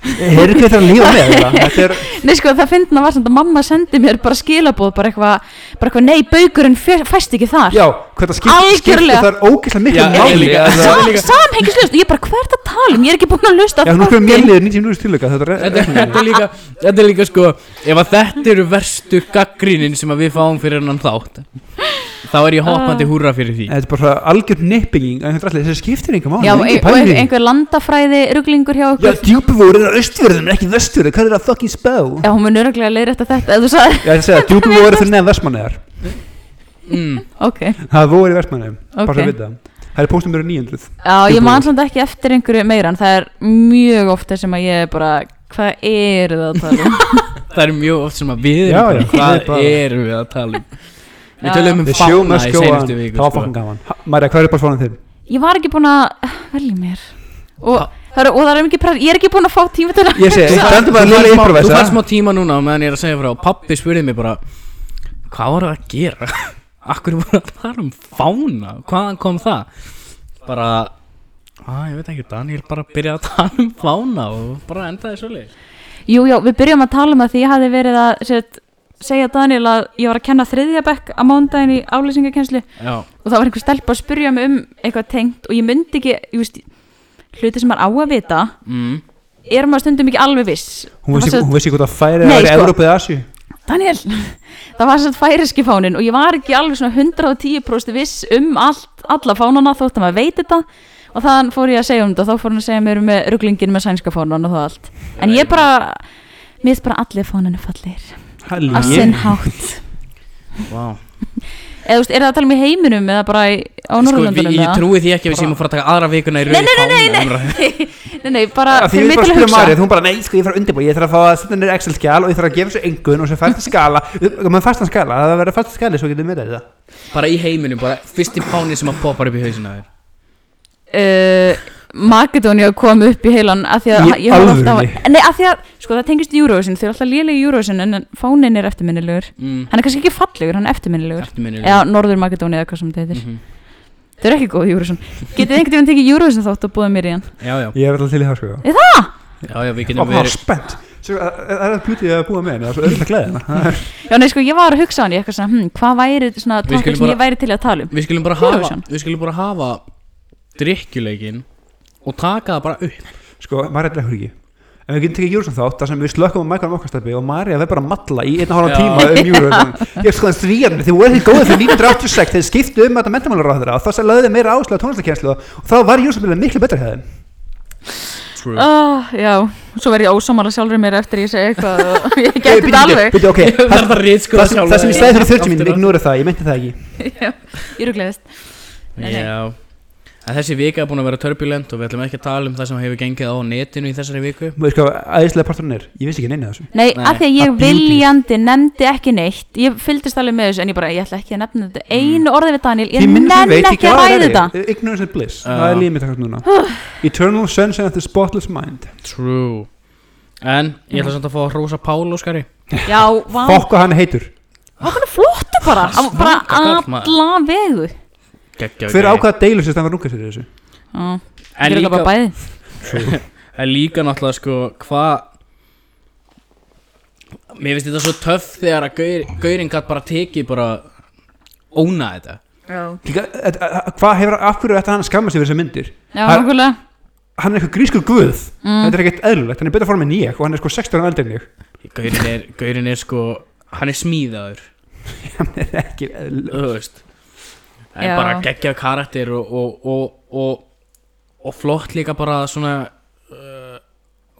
Speaker 2: Heyrðu hvað það lífa með þetta Þetta er,
Speaker 3: Nei sko, það fyndna var samt að mamma sendi mér bara skilaboð, bara eitthvað bara eitthvað, nei, baukurinn fe- fæst ekki þar
Speaker 2: já, hvað það skipti, skipti
Speaker 3: Algjörlega.
Speaker 2: það er ógeðslega miklu
Speaker 1: Já, ég
Speaker 2: máli
Speaker 1: líka,
Speaker 2: að-
Speaker 1: það er
Speaker 3: Sam,
Speaker 1: líka-
Speaker 3: Samhengislaust, ég bara, hvað er þetta að tala um? Ég er ekki búin að lusta
Speaker 2: Já, nú erum mér liður 90 minútur tilöka, þetta er
Speaker 1: þetta, þetta, er líka, þetta er líka sko Ef að þetta eru verstu gaggrínin sem að við fáum fyrir hennan þátt Þá er ég hoppandi húra fyrir því
Speaker 2: Þetta er bara algjörn nippinging en þetta er allir, þessi skiptir enga máli
Speaker 3: Já,
Speaker 2: engi
Speaker 3: ein, og
Speaker 2: pæling í
Speaker 3: ein-
Speaker 2: því.
Speaker 3: einhver landafræði ruglingur hjá
Speaker 2: Já,
Speaker 3: okkur
Speaker 2: djúpivoru er austfjörðum, ekki vestfjörðum, hvað er það fucking spá?
Speaker 3: Já, hún mun öruglega leiðrætt að þetta, ef þú sagði
Speaker 2: Ég ætla að segja, djúpivoru fyrir neðan vestmannegar
Speaker 1: mm.
Speaker 3: Ok,
Speaker 2: Það er voru í vestmannegum, bara
Speaker 3: Ok.
Speaker 2: svo að vita Það er póstum verið 900
Speaker 3: já, ég
Speaker 2: Djúpavogur.
Speaker 3: man samt ekki eftir einhverju meira en það er mjög ofta sem að ég er bara Hvað eru það að tala um?
Speaker 1: Það er mjög oft sem að við
Speaker 2: Já,
Speaker 1: erum
Speaker 2: já,
Speaker 1: bara, hvað
Speaker 2: við bara-
Speaker 1: erum við að tala um Við
Speaker 3: Já,
Speaker 1: tölum um
Speaker 2: The show
Speaker 1: fána
Speaker 2: must
Speaker 1: í
Speaker 2: go on
Speaker 1: seinustu viku
Speaker 2: Það var
Speaker 1: sko.
Speaker 2: fokkin gaman Ha- Marja, hvað er bara svona þinn?
Speaker 3: Ég var ekki búin að eh, velja mér Og það er, og það er ekki press, ég er ekki búin að fá tíma til að
Speaker 2: Ég segi,
Speaker 3: hugsa.
Speaker 2: þetta er
Speaker 1: Þú færð smá-
Speaker 2: bara lilla
Speaker 1: Þú fannst
Speaker 2: improvisa
Speaker 1: smá tíma núna á meðan ég er að segja frá Pappi spurði mig bara Hvað var það að gera? Akkur voru að tala um fána? Hvaðan kom það? Bara að, Ég veit ekki, Daniel bara byrjaði að tala um fána og bara endaði svolítið
Speaker 3: Jú, já, við byrjum að tala um það því ég hafði verið að set, segja Daniel að ég var að kenna þriðja bekk á mándaginn í álýsingakenslu
Speaker 1: Já,
Speaker 3: og það var einhver stelpa að spurja mig um eitthvað tengt og ég myndi ekki, ég veist, hluti sem maður á að vita
Speaker 1: mm.
Speaker 3: er maður stundum ekki alveg viss
Speaker 2: Hún
Speaker 3: Það var
Speaker 2: vissi
Speaker 3: sem-
Speaker 2: hún vissi hvort það færi
Speaker 3: Nei,
Speaker 2: að vera
Speaker 3: sko.
Speaker 2: Evrópa eða Asju
Speaker 3: Daniel, það var svolítið færiski fánin og ég var ekki alveg svona 110% viss um allt, alla fánana þótt að maður veit þetta og þann fór ég að segja um þetta og þá fór hann að segja mér um eh, ruglingin með sænska fánan og það allt en ég bara, mér finnst bara allir fáninu fallir á sinn hátt
Speaker 1: wow.
Speaker 3: eða þú veist, er það að tala um í heiminum eða bara í, á
Speaker 1: Sko, við,
Speaker 3: Norðurlöndunum
Speaker 1: ég trúi því ekki að við séum að fara að taka aðra vikuna í
Speaker 3: Nei,
Speaker 1: rauði
Speaker 3: nei, nei,
Speaker 1: fána
Speaker 3: nei,
Speaker 1: umræðu.
Speaker 3: nei, nei, nei, bara
Speaker 2: Af Því
Speaker 3: fyrir
Speaker 2: ég bara
Speaker 3: mig til að
Speaker 2: spyrir
Speaker 3: hugsa
Speaker 2: Marja, þú bara, nei, sko, ég þarf að undirbúa, ég þarf að fá að setja nýr Excel-skjál og ég þarf að gefa þessu engun og svo fasta skala, maður fasta skala, það verður fasta skali svo getur mér þetta.
Speaker 1: Bara í heiminum, bara fyrsti fáni sem að poppar upp í hausina þér
Speaker 3: uh, Makedónia kom upp í heilan af því að
Speaker 2: Í
Speaker 3: ég horfði alltaf
Speaker 2: alvörunni?
Speaker 3: á- Nei, af því að, sko það tengist Eurovision þau eru alltaf lélega í Eurovision en fánin er eftirminnilegur
Speaker 1: mm.
Speaker 3: hann er kannski ekki fallegur, hann er eftirminnilegur
Speaker 1: Ertu minnilegur?
Speaker 3: eða Norður Makedónia eða hvað sem þetta heitir
Speaker 1: Mhm.
Speaker 3: þau eru ekki góð í Eurovision getið einhvern veginn tekið Eurovision þátt og búið mér í hann
Speaker 1: Já, já,
Speaker 2: Ég er alltaf til í það, sko.
Speaker 1: já, já, við
Speaker 2: Og
Speaker 1: getum
Speaker 2: bara
Speaker 1: verið
Speaker 2: spennt. Svo, að- að- Það er það bjútið að búa með henni, það er svo öll að gleða henni.
Speaker 3: já nei sko ég var að hugsa á hann ég eitthvað svona hm, hvað væri svona
Speaker 1: Við
Speaker 3: tónlist
Speaker 1: skulum
Speaker 3: sem ég
Speaker 1: bara-
Speaker 3: væri til að tala um
Speaker 1: Við skulum bara hafa
Speaker 3: Eurovision.
Speaker 1: Við skulum bara hafa drikkjuleikin og taka það bara upp
Speaker 2: Sko, maður er eitthvað ekki. en við getum tekið Júrusson þátt þar sem við slökkum á mækvæðan okkar og Marja verður bara að matla í einn og
Speaker 1: Já.
Speaker 2: hálfan tíma um Júrusson ég er skoðan þvíjarnir, þið voru þið góðið fyrir 1986 þeir skiptu um þetta mentamálur og þá lögðu þið meira áslu á tónlistakenslu og þá var Júrusson miklu betra hefðin
Speaker 1: True
Speaker 3: Ah, já, svo verð ég ósámála sjálfur mér eftir ég segi eitthvað og ég geti þetta alveg
Speaker 2: Bíddu, okay.
Speaker 1: Ég
Speaker 2: það,
Speaker 1: verð að rýtskóla
Speaker 2: það, það sem ég stæði fyrir 30 mínum, ignora það, ég meinti það ekki
Speaker 3: Já, Ég rúgleðist Nei, nei.
Speaker 1: Já En þessi vika er búin að vera turbulent og við ætlum ekki að tala um það sem hefur gengið á netinu í þessari viku
Speaker 2: Mér sko, æðislega parturinn er, ég vissi ekki neina þessu
Speaker 3: Nei,
Speaker 1: Nei,
Speaker 3: af því að ég
Speaker 1: það bíður.
Speaker 3: viljandi nefndi ekki neitt Ég fylgdist alveg með þessu en ég bara, ég ætla ekki að nefna þetta einu orði við Daniel,
Speaker 2: Því
Speaker 3: ég
Speaker 2: minna sem
Speaker 3: nenn
Speaker 2: veit, því
Speaker 3: ekki að
Speaker 2: glaðari
Speaker 3: ræða
Speaker 2: er
Speaker 3: þetta
Speaker 2: ég. Ignorance and bliss,
Speaker 1: Já.
Speaker 2: það er límið takast núna Eternal sunshine of the spotless mind
Speaker 1: True En ég ætla samt að fá að rosa Pál Óskari
Speaker 3: Já, vá,
Speaker 2: Fokk og hann er heitur
Speaker 3: hann er flottu bara
Speaker 1: Hann
Speaker 3: Hann var bara
Speaker 1: smakar kall, maður.
Speaker 3: alla vegu
Speaker 2: Hver ákvaða deilu sérst hann var núkast fyrir þessu?
Speaker 3: Já,
Speaker 1: En
Speaker 3: ég er
Speaker 1: líka,
Speaker 3: bara bæði
Speaker 1: en líka náttúrulega sko hvað Mér finnst þetta svo töff þegar að gaur, gaurinn gætt bara tekið bara óna þetta
Speaker 3: Já,
Speaker 2: Líka, eh, eh, Hvað hefur, af hverju ætti hann að skamma sig fyrir þessar myndir? Hann-
Speaker 3: nákvæmlega
Speaker 2: Hann er eitthvað grískur guð
Speaker 3: Mm.
Speaker 2: Þetta er ekkert eðlulegt, hann er betur form en ég og hann er sko 16 ára eldri en ég
Speaker 1: Gaurinn er, gaurinn er sko Hann er smíðaður
Speaker 2: Hann er ekki eðlulegt
Speaker 1: Þú veist Það er
Speaker 3: Já.
Speaker 1: bara geggjað karakter og, og, og, og, og flott líka bara svona uh,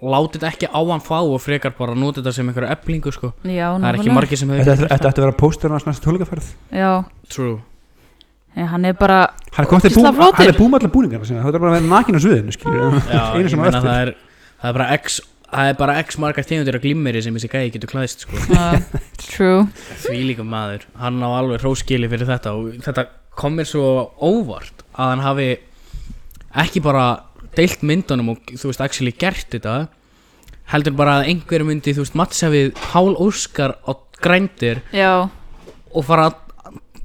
Speaker 1: Látið þetta ekki á hann fá og frekar bara notið þetta sem einhverja eflingu sko
Speaker 3: Já,
Speaker 1: Það er ekki
Speaker 3: nákvæmlega
Speaker 1: margir sem
Speaker 2: Þetta
Speaker 1: hefur
Speaker 2: þetta ætti að vera póstur hans næsta tólikaferð
Speaker 3: Já,
Speaker 1: True
Speaker 3: Nei, hann er bara
Speaker 2: Hann er komst til bú-
Speaker 3: Ógeðslega flottur.
Speaker 2: hann er búið með allar búningarna sinna Það er bara að vera nakin á sviðinu, skilur
Speaker 1: Já,
Speaker 2: Einu
Speaker 1: ég
Speaker 2: sem á
Speaker 1: meina
Speaker 2: eftir.
Speaker 1: það er Það er bara x Það er bara x margar tegundir af glimmeri sem þessi gæði getur klæðist sko
Speaker 3: uh, True
Speaker 1: Því líka maður Hann á alveg hróskili fyrir þetta og þetta kom mér svo óvart að hann hafi ekki bara deilt myndunum og þú veist actually gert þetta heldur bara að einhver myndi þú veist mattsa við Pál Óskar á grændir
Speaker 3: Já,
Speaker 1: og fara að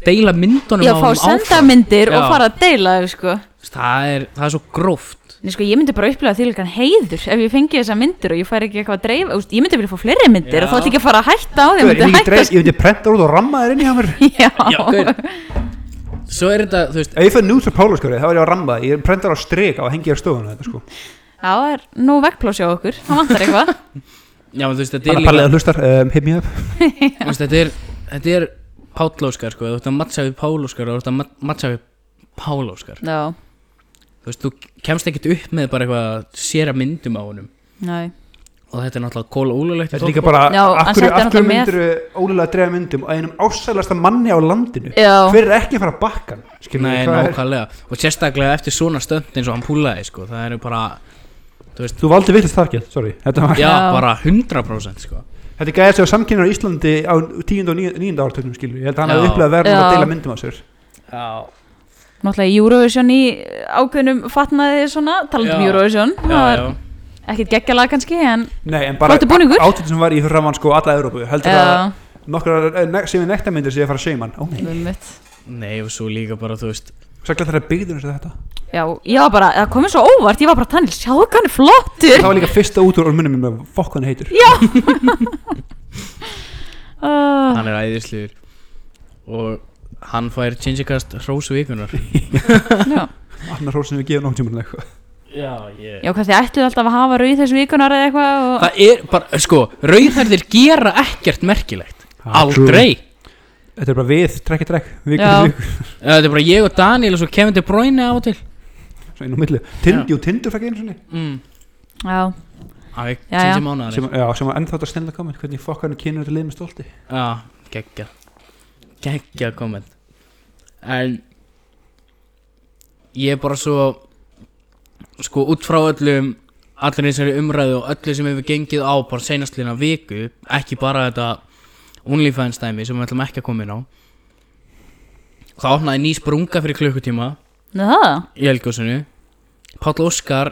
Speaker 1: deila myndunum
Speaker 3: já
Speaker 1: af
Speaker 3: fá
Speaker 1: honum
Speaker 3: senda
Speaker 1: áfram.
Speaker 3: myndir og
Speaker 1: Já.
Speaker 3: fara að deila þau sko
Speaker 1: það er, það er svo gróft
Speaker 3: Nei, sko, ég myndi bara upplega því líka heiður ef ég fengi þessa myndir og ég fær ekki eitthvað að dreifa úst, ég myndi vilja fá fleiri myndir
Speaker 1: Já.
Speaker 3: og þá ætti ekki að fara að hætta á því
Speaker 2: Ég
Speaker 3: ég
Speaker 2: myndi
Speaker 3: myndi
Speaker 2: ekki
Speaker 3: hætta
Speaker 2: dreif- ég myndi prenta úr og ramma þér inn í hann mér
Speaker 3: Já.
Speaker 1: Já, gaur. svo er þetta, þú veist
Speaker 2: Ef ég fyrir njútur pálaskjörið þá er ég að ramba það. Ég prentar á streik á að hengja á stofuna þetta sko
Speaker 3: Já, það er nú vekkplási á okkur það vantar eitthvað
Speaker 1: já, þú veist, þetta er
Speaker 2: Bara
Speaker 1: líka
Speaker 2: pallið að hlustar, um, hit me up
Speaker 1: þú veist, þetta er, þetta er Pál Óskar sko, þú ert að mattsa við Pál Óskar og þú ert að mat- mattsa við Pál Óskar
Speaker 3: Já,
Speaker 1: þú veist, þú kemst ekkert upp með bara eitthvað séra myndum á honum
Speaker 3: næ
Speaker 1: og þetta er náttúrulega kóla ólulegt
Speaker 2: Þetta er líka bara,
Speaker 3: Já,
Speaker 2: af
Speaker 3: en
Speaker 2: hverju,
Speaker 3: samt
Speaker 2: af hverju
Speaker 3: er náttúrulega með-
Speaker 2: myndir ólega að drefa myndum á einum ásælasta manni á landinu
Speaker 3: Já.
Speaker 2: Hver er ekki að fara að bakkan? Skilur
Speaker 1: Nei,
Speaker 2: við, hvað er-
Speaker 1: nákvæmlega og sérstaklega eftir svona stönd eins og hann púlaði sko, það eru bara þú veist,
Speaker 2: Þú valdi villist þar ekki, sorry Þetta, var,
Speaker 1: já,
Speaker 3: Já.
Speaker 1: bara 100% sko
Speaker 2: þetta er gæðið sig á samkynnar á Íslandi á 10. og 9. ártögnum skilur við. Ég held að hann
Speaker 1: Já.
Speaker 2: hefði upplegað verðum að
Speaker 3: Já.
Speaker 2: deila myndum á sér
Speaker 1: Já,
Speaker 3: Náttúrulega Eurovision í ákveðnum fatnaði svona, talandi um
Speaker 1: Já.
Speaker 3: Eurovision
Speaker 1: já,
Speaker 3: það
Speaker 1: já,
Speaker 3: var ekkit geggjala kannski en
Speaker 2: Nei, en bara
Speaker 3: Flottur búningur.
Speaker 2: átögn sem var í fyrir raman sko alla Európu Heldur
Speaker 3: Já,
Speaker 2: að nokkrar eh, sem við nekta myndir sé að fara að seima hann Ó, nei,
Speaker 3: við mitt
Speaker 1: nei og svo líka bara, þú veist
Speaker 2: sagði þetta byggðunum sér þetta
Speaker 3: Já, ég var bara, það komið svo óvart ég var bara tannil, sjáðu hvað hann er flottur
Speaker 2: Það var líka fyrsta út úr munum með fokk hann heitur
Speaker 3: uh,
Speaker 1: hann er æðisluður og hann fær Chinchikast hrósu vikunar
Speaker 3: Já
Speaker 2: Annar hrósinn við gefum náttímann eitthvað
Speaker 1: Já, ég
Speaker 3: Já, hvað þið ætluðu alltaf að hafa rauð þessu vikunar eða eitthvað og...
Speaker 1: Það er bara, sko, rauðhærðir gera ekkert merkilegt
Speaker 2: Ah,
Speaker 1: Aldrei
Speaker 2: Þetta er bara við, trekk í trekk, vikur
Speaker 3: Já.
Speaker 2: í vikur,
Speaker 1: Það er bara ég og Daniel og svo Kevin De Bruyne af og til
Speaker 2: svo inn á milli. Tind, jú, tindur fæk einu sinni,
Speaker 1: mm.
Speaker 3: Já,
Speaker 1: Það er
Speaker 3: Já, já.
Speaker 1: sinni
Speaker 2: sem,
Speaker 1: mánuðar
Speaker 2: já, sem var ennþátt að snilla komment, hvernig fokk hann kynur þetta lið með stolti.
Speaker 1: Já, geggja Geggja komment En Ég er bara svo Sko, út frá öllum Allir þessari umræðu og öllu sem hefur gengið á Bara seinastlina viku Ekki bara þetta OnlyFans dæmi sem við ætlum ekki að koma inn á Það opnaði ný sprunga fyrir klukkutíma
Speaker 3: Nú það?
Speaker 1: í Elgjósinu Páll Óskar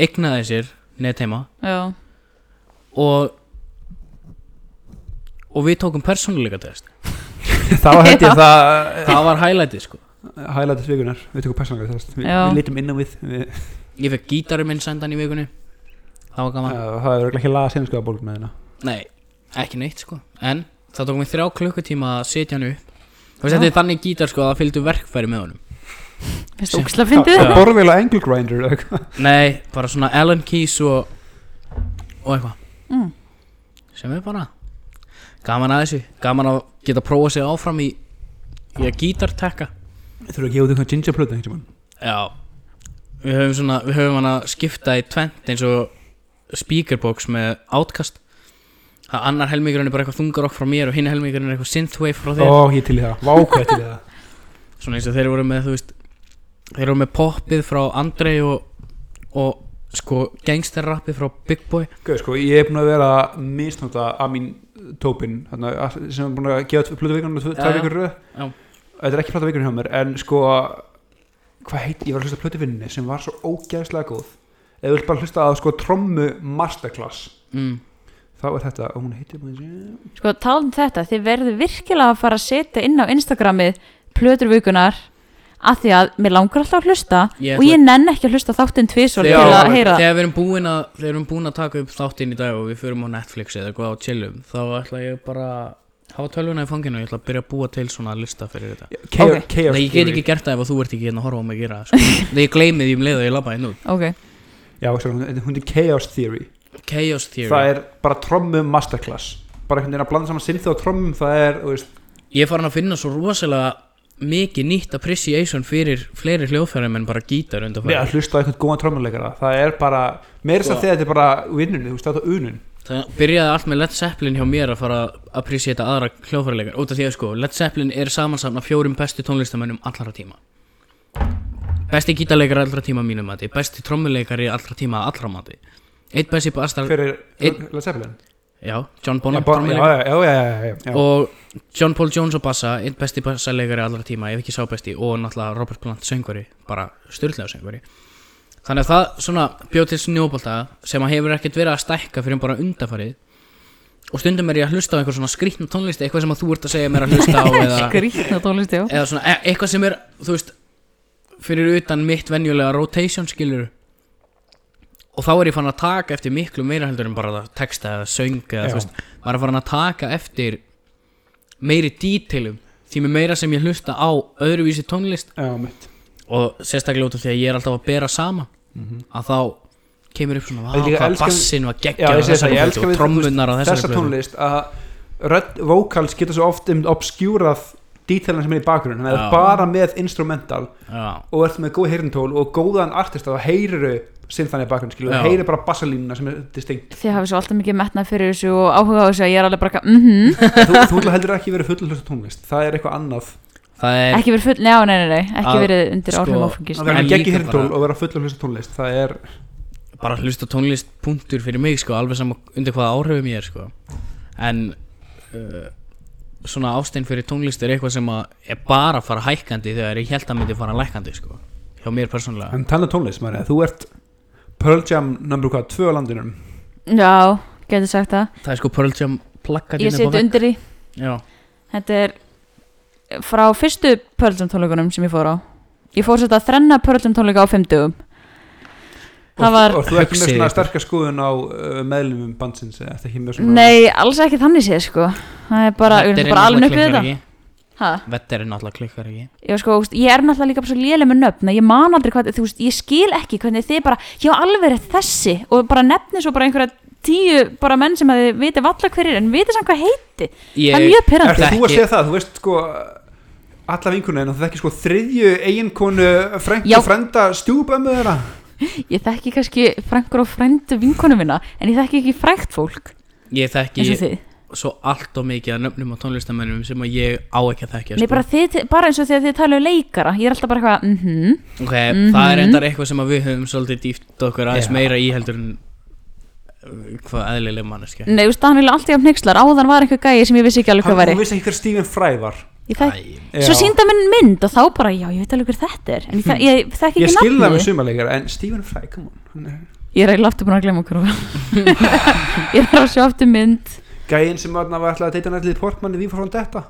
Speaker 1: eignaði sér netheima
Speaker 3: Já,
Speaker 1: og og við tókum persónuleika test
Speaker 2: Það var hætti
Speaker 3: Já.
Speaker 2: að það
Speaker 1: það var hælætið sko
Speaker 2: hælætist vikunar, við tökum persónlega þess, við,
Speaker 3: Já.
Speaker 2: við litum inn á við, við uh,
Speaker 1: ég fekk gítarum minn sendan í vikunni það var gaman
Speaker 2: það er örugglega ekki laga sinnskjöða bólk með hérna.
Speaker 1: nei, ekki neitt sko en það tók mig þrjá klukkutíma að setja hann upp þú veist þetta er þannig gítar sko að það fylgdu verkfæri með honum
Speaker 3: finnst þú ógislega fyndið?
Speaker 2: Borðvél á Angle Grinder eða eitthvað.
Speaker 1: nei, bara svona Allen Keys og og eitthvað
Speaker 3: mm.
Speaker 1: sem er bara gaman að þessu, gaman að geta prófa sig áfram í, í að gítartekka
Speaker 2: Þurfa að gefa út einhvern ginger plötu einhvern
Speaker 1: já við höfum svona, við höfum hann að skipta í tvent eins og speakerbox með átkast það annar helmingurinn er bara eitthvað þungarokk frá mér og hinn helmingurinn er eitthvað synthwave frá þér
Speaker 2: Ó, ég er til í það, vákvæð til í það
Speaker 1: svona eins og þeir voru með þú veist þeir voru með poppið frá Andrei og, og sko gangsterrappið frá Big Boy
Speaker 2: Gauð, sko, ég er búin að vera að misnota að mín tópin þarna, all- sem er búin að gefa plötu vikunum
Speaker 1: Já,
Speaker 2: tvær
Speaker 1: já.
Speaker 2: vikur í röð
Speaker 1: Já.
Speaker 2: Þetta er ekki plötu vikunum hjá mér en sko hvað heit, ég var að hlusta plötu vinninni sem var svo ógeðslega góð eða vilt bara hlusta að sko trommu masterclass
Speaker 1: mm.
Speaker 2: þá er þetta, og hún heitir bara
Speaker 3: Sko, tala um þetta, þið verður virkilega að fara að setja inn á Instagramið plötur vikunar af því að mér langar alltaf að hlusta
Speaker 1: Ég
Speaker 3: og
Speaker 1: ætla-
Speaker 3: ég nenn ekki að hlusta þáttinn tvisvar til
Speaker 2: Já,
Speaker 3: að heyra
Speaker 1: þegar við erum búin að þegar við erum búin að taka upp þáttinn í dag og við förum á Netflix eða eitthvað á chillum þá ætla ég bara að hafa tölvuna í fanginu og ég ætla að byrja að búa til svona lista fyrir þetta
Speaker 2: Chaos,
Speaker 3: Ok.
Speaker 2: Chaos
Speaker 1: Nei, ég get ekki gert það ef að þú ert ekki hérna að horfa á mig að gera það sko. Nei, ég gleymi því um leið og ég labba hérna út
Speaker 3: Ok,
Speaker 2: Já, sko, hún hún heitir Chaos Theory
Speaker 1: Chaos Theory
Speaker 2: það er bara trommum masterclass bara einhvern veginn að blanda saman synthi og trommum það er, þú veist,
Speaker 1: Ég er farin að finna svo rosalega mikið nýtt appreciation fyrir fleiri hljóðfærum en bara gítar
Speaker 2: við
Speaker 1: undanfæri
Speaker 2: að hlusta á einhvern góðan trommuleikara það er bara, meira þess
Speaker 1: Sko.
Speaker 2: að þegar þetta er bara vinnunni, þú veist, þetta er unun
Speaker 1: Það byrjaði allt með Led Zeppelin hjá mér að fara að appreciata aðra hljóðfærileikar út af því að sko, Led Zeppelin er samansamna fjórum bestu tónlistamönnum allra tíma Besti gítarleikari allra tíma að mínu mati, besti trommuleikari allra tíma að allra mati Eitt besti bastar,
Speaker 2: hver er,
Speaker 1: Einn-
Speaker 2: Led Zeppelin
Speaker 1: já, John
Speaker 2: Já,
Speaker 1: Bonham
Speaker 2: bara- já,
Speaker 1: trommuleikari
Speaker 2: já, já, já, já, já.
Speaker 1: og John Paul Jones og Bassa einn besti bassaleigari allra tíma, ef ekki sá besti og náttúrulega Robert Plant söngvari bara styrlega söngvari þannig að það svona bjóð til snjóbolta sem að hefur ekkert verið að stækka fyrir bara undafarið og stundum er ég að hlusta á einhver svona skrýtna tónlist eitthvað sem að þú ert að segja mér að hlusta á eða,
Speaker 3: skrýtna tónlist, já
Speaker 1: eða svona e eitthvað sem er, þú veist fyrir utan mitt venjulega rotation skilur og þá er ég fann að taka eftir miklu meira heldur en bara texta eða söng eða
Speaker 2: Já.
Speaker 1: þú veist maður er farin að taka eftir meiri dítilum því með meira sem ég hlusta á öðruvísi tónlist
Speaker 2: já, mitt
Speaker 1: og sérstaklega út af því að ég er alltaf að bera saman að þá kemur upp svona "Vá,
Speaker 2: Mhm. Ég líka
Speaker 1: hvað
Speaker 2: elska-
Speaker 1: bassin var
Speaker 2: Já,
Speaker 1: geggja
Speaker 2: ég segi það, ég elska
Speaker 1: og
Speaker 2: við-
Speaker 1: trommunar á
Speaker 2: þessa
Speaker 1: þessari plötu
Speaker 2: tónlist að rödd vókals geta svo oft um obskjúrað dítalinn sem er í bakgrunn þannig að
Speaker 1: Já.
Speaker 2: það er bara með instrumental
Speaker 1: Já,
Speaker 2: og ert með góð heyrintól og góðan artist þá heyriru synþan í bakgrunn skilu,
Speaker 1: Já.
Speaker 2: heyrir bara bassalínuna sem er distinct
Speaker 3: Þið hafið svo alltaf mikið metnað fyrir þessu og áhuga á þessu að ég er alveg bara mhm,
Speaker 2: þú, þú ætla heldur ekki verið full að hlusta tónlist það er eitthvað annað
Speaker 1: það er
Speaker 3: ekki verið full, já, nei, nei, nei ekki
Speaker 1: Að-
Speaker 3: verið undir
Speaker 1: sko,
Speaker 3: áhrifum áfengis
Speaker 2: að vera
Speaker 1: En
Speaker 2: með geggi
Speaker 1: líka
Speaker 2: hérntól
Speaker 1: bara-
Speaker 2: og vera full að hlusta tónlist það er,
Speaker 1: bara að hlusta á tónlist punktur fyrir mig sko, alveg saman undir hvaða áhrifum ég er sko. en uh, svona ástein fyrir tónlist er eitthvað sem að er bara að fara hækkandi þegar ég held að myndi fara lækkandi sko, hjá mér persónulega
Speaker 2: en tala um tónlist maður, þú ert Pearl Jam nummer hvað, tvö á landinum
Speaker 3: Já, getur sagt það
Speaker 1: það er sko Pearl Jam plakkaðin
Speaker 3: Ég seti undir því,
Speaker 1: já,
Speaker 3: þetta er frá fyrstu Pörlum tónleikunum sem ég fór á Ég fór svolítið að þrenna Pörlum tónleika á fimmtugum Það
Speaker 2: og,
Speaker 3: var-
Speaker 2: og þú ert með
Speaker 1: Hugsið
Speaker 2: svona
Speaker 1: ykkur.
Speaker 2: sterkar skoðun á uh, meðlumum bandsins eða ertu ekki með svona
Speaker 3: Nei, alls ekki þannig séð sko Það er bara, við erum bara alveg upp við þetta Ha?
Speaker 1: vetterinn alltaf klikkar ekki
Speaker 3: Já, sko, þú veist, ég er náttúrulega líka bara svo léleg með nöfn að ég man aldrei hvað, þú veist, ég skil ekki hvernig þið bara, já alveg er þessi og bara nefni svo bara einhverja tíu bara menn sem að þið viti valla hverjir en viti samt hvað heiti,
Speaker 1: ég,
Speaker 3: það er mjög
Speaker 2: ert
Speaker 3: pyrrandi
Speaker 1: Ertu-
Speaker 2: þú að
Speaker 1: Þekki-
Speaker 2: segja það, þú veist sko alla vinkunni en það ekki sko þriðju eiginkonu
Speaker 3: Já.
Speaker 2: frængu frænda stjúbömmu þeirra
Speaker 3: Ég þekki kannski frængur og frændu vinkonu minna en ég þekki ekki frækt fólk
Speaker 1: ég þekki
Speaker 3: eins og þið,
Speaker 1: svo allt og mikið að nöfnum á tónlistamennum sem að ég á ekki að sko. þekki
Speaker 2: sko-
Speaker 3: nei bara þið, bara eins og því að þið tala um leikara, ég er alltaf bara eitthvað mhm,
Speaker 2: Mm-hmm.
Speaker 1: Ok,
Speaker 3: Mhm.
Speaker 1: það er endar eitthvað sem að við höfum svolítið dýft okkur aðeins
Speaker 2: Já.
Speaker 1: meira í heldur en uh, hvað eðlileg manneski
Speaker 3: nei, þú veist, hann er alltaf jafn hnyggslar, áðan var einhver gæi sem ég vissi ekki alveg hvað
Speaker 2: Hann-
Speaker 3: væri,
Speaker 2: þú veist ekki hver Stephen Fry var
Speaker 3: ég þekki
Speaker 2: Já.
Speaker 3: Svo sínda minn mynd og þá bara, já, ég veit alveg hver þetta er En ég, þek- ég þekki
Speaker 2: ég
Speaker 3: ekki
Speaker 2: skil það með
Speaker 3: nafnið
Speaker 2: sumarleikar en Stephen Fry, come on hann er-
Speaker 3: Ég er eiginlega aftur búin að glemma okkur Ég er að sjá aftur mynd
Speaker 2: gæinn sem þarna var alltaf að deyta nættlið Portman í Vífór von Detta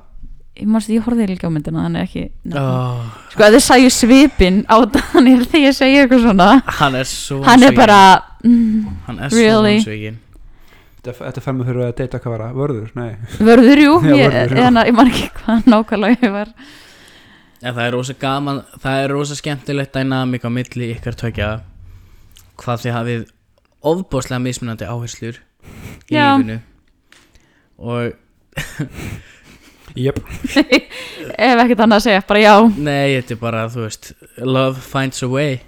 Speaker 3: Ég manst að ég horfði líka á myndina, þannig ekki no.
Speaker 1: oh,
Speaker 3: Sko að þið sæju svipin á Daniel þegar ég segi eitthvað svona
Speaker 1: Ah, Hann er svo
Speaker 3: Hann er
Speaker 1: vonsvikinn.
Speaker 3: bara mm,
Speaker 1: Hann er
Speaker 3: Really?
Speaker 1: svo vansvíkin
Speaker 2: þetta þetta fær mig fyrir að deyta hvað var að vörður, nei
Speaker 3: Vörður, jú,
Speaker 2: Já,
Speaker 3: ég,
Speaker 2: vörður, já.
Speaker 3: þannig að ég man ekki hvað nákvæmlega ég var
Speaker 1: En það er rosa gaman, það er rosa skemmtilegt dynamik á milli ykkar tökja hvað þið hafið ofbóðslega mismunandi áherslur í
Speaker 3: Já.
Speaker 1: lífinu og
Speaker 2: Jöp
Speaker 3: ef ekkert annað að segja, bara já
Speaker 1: nei, þetta er bara, þú veist love finds a way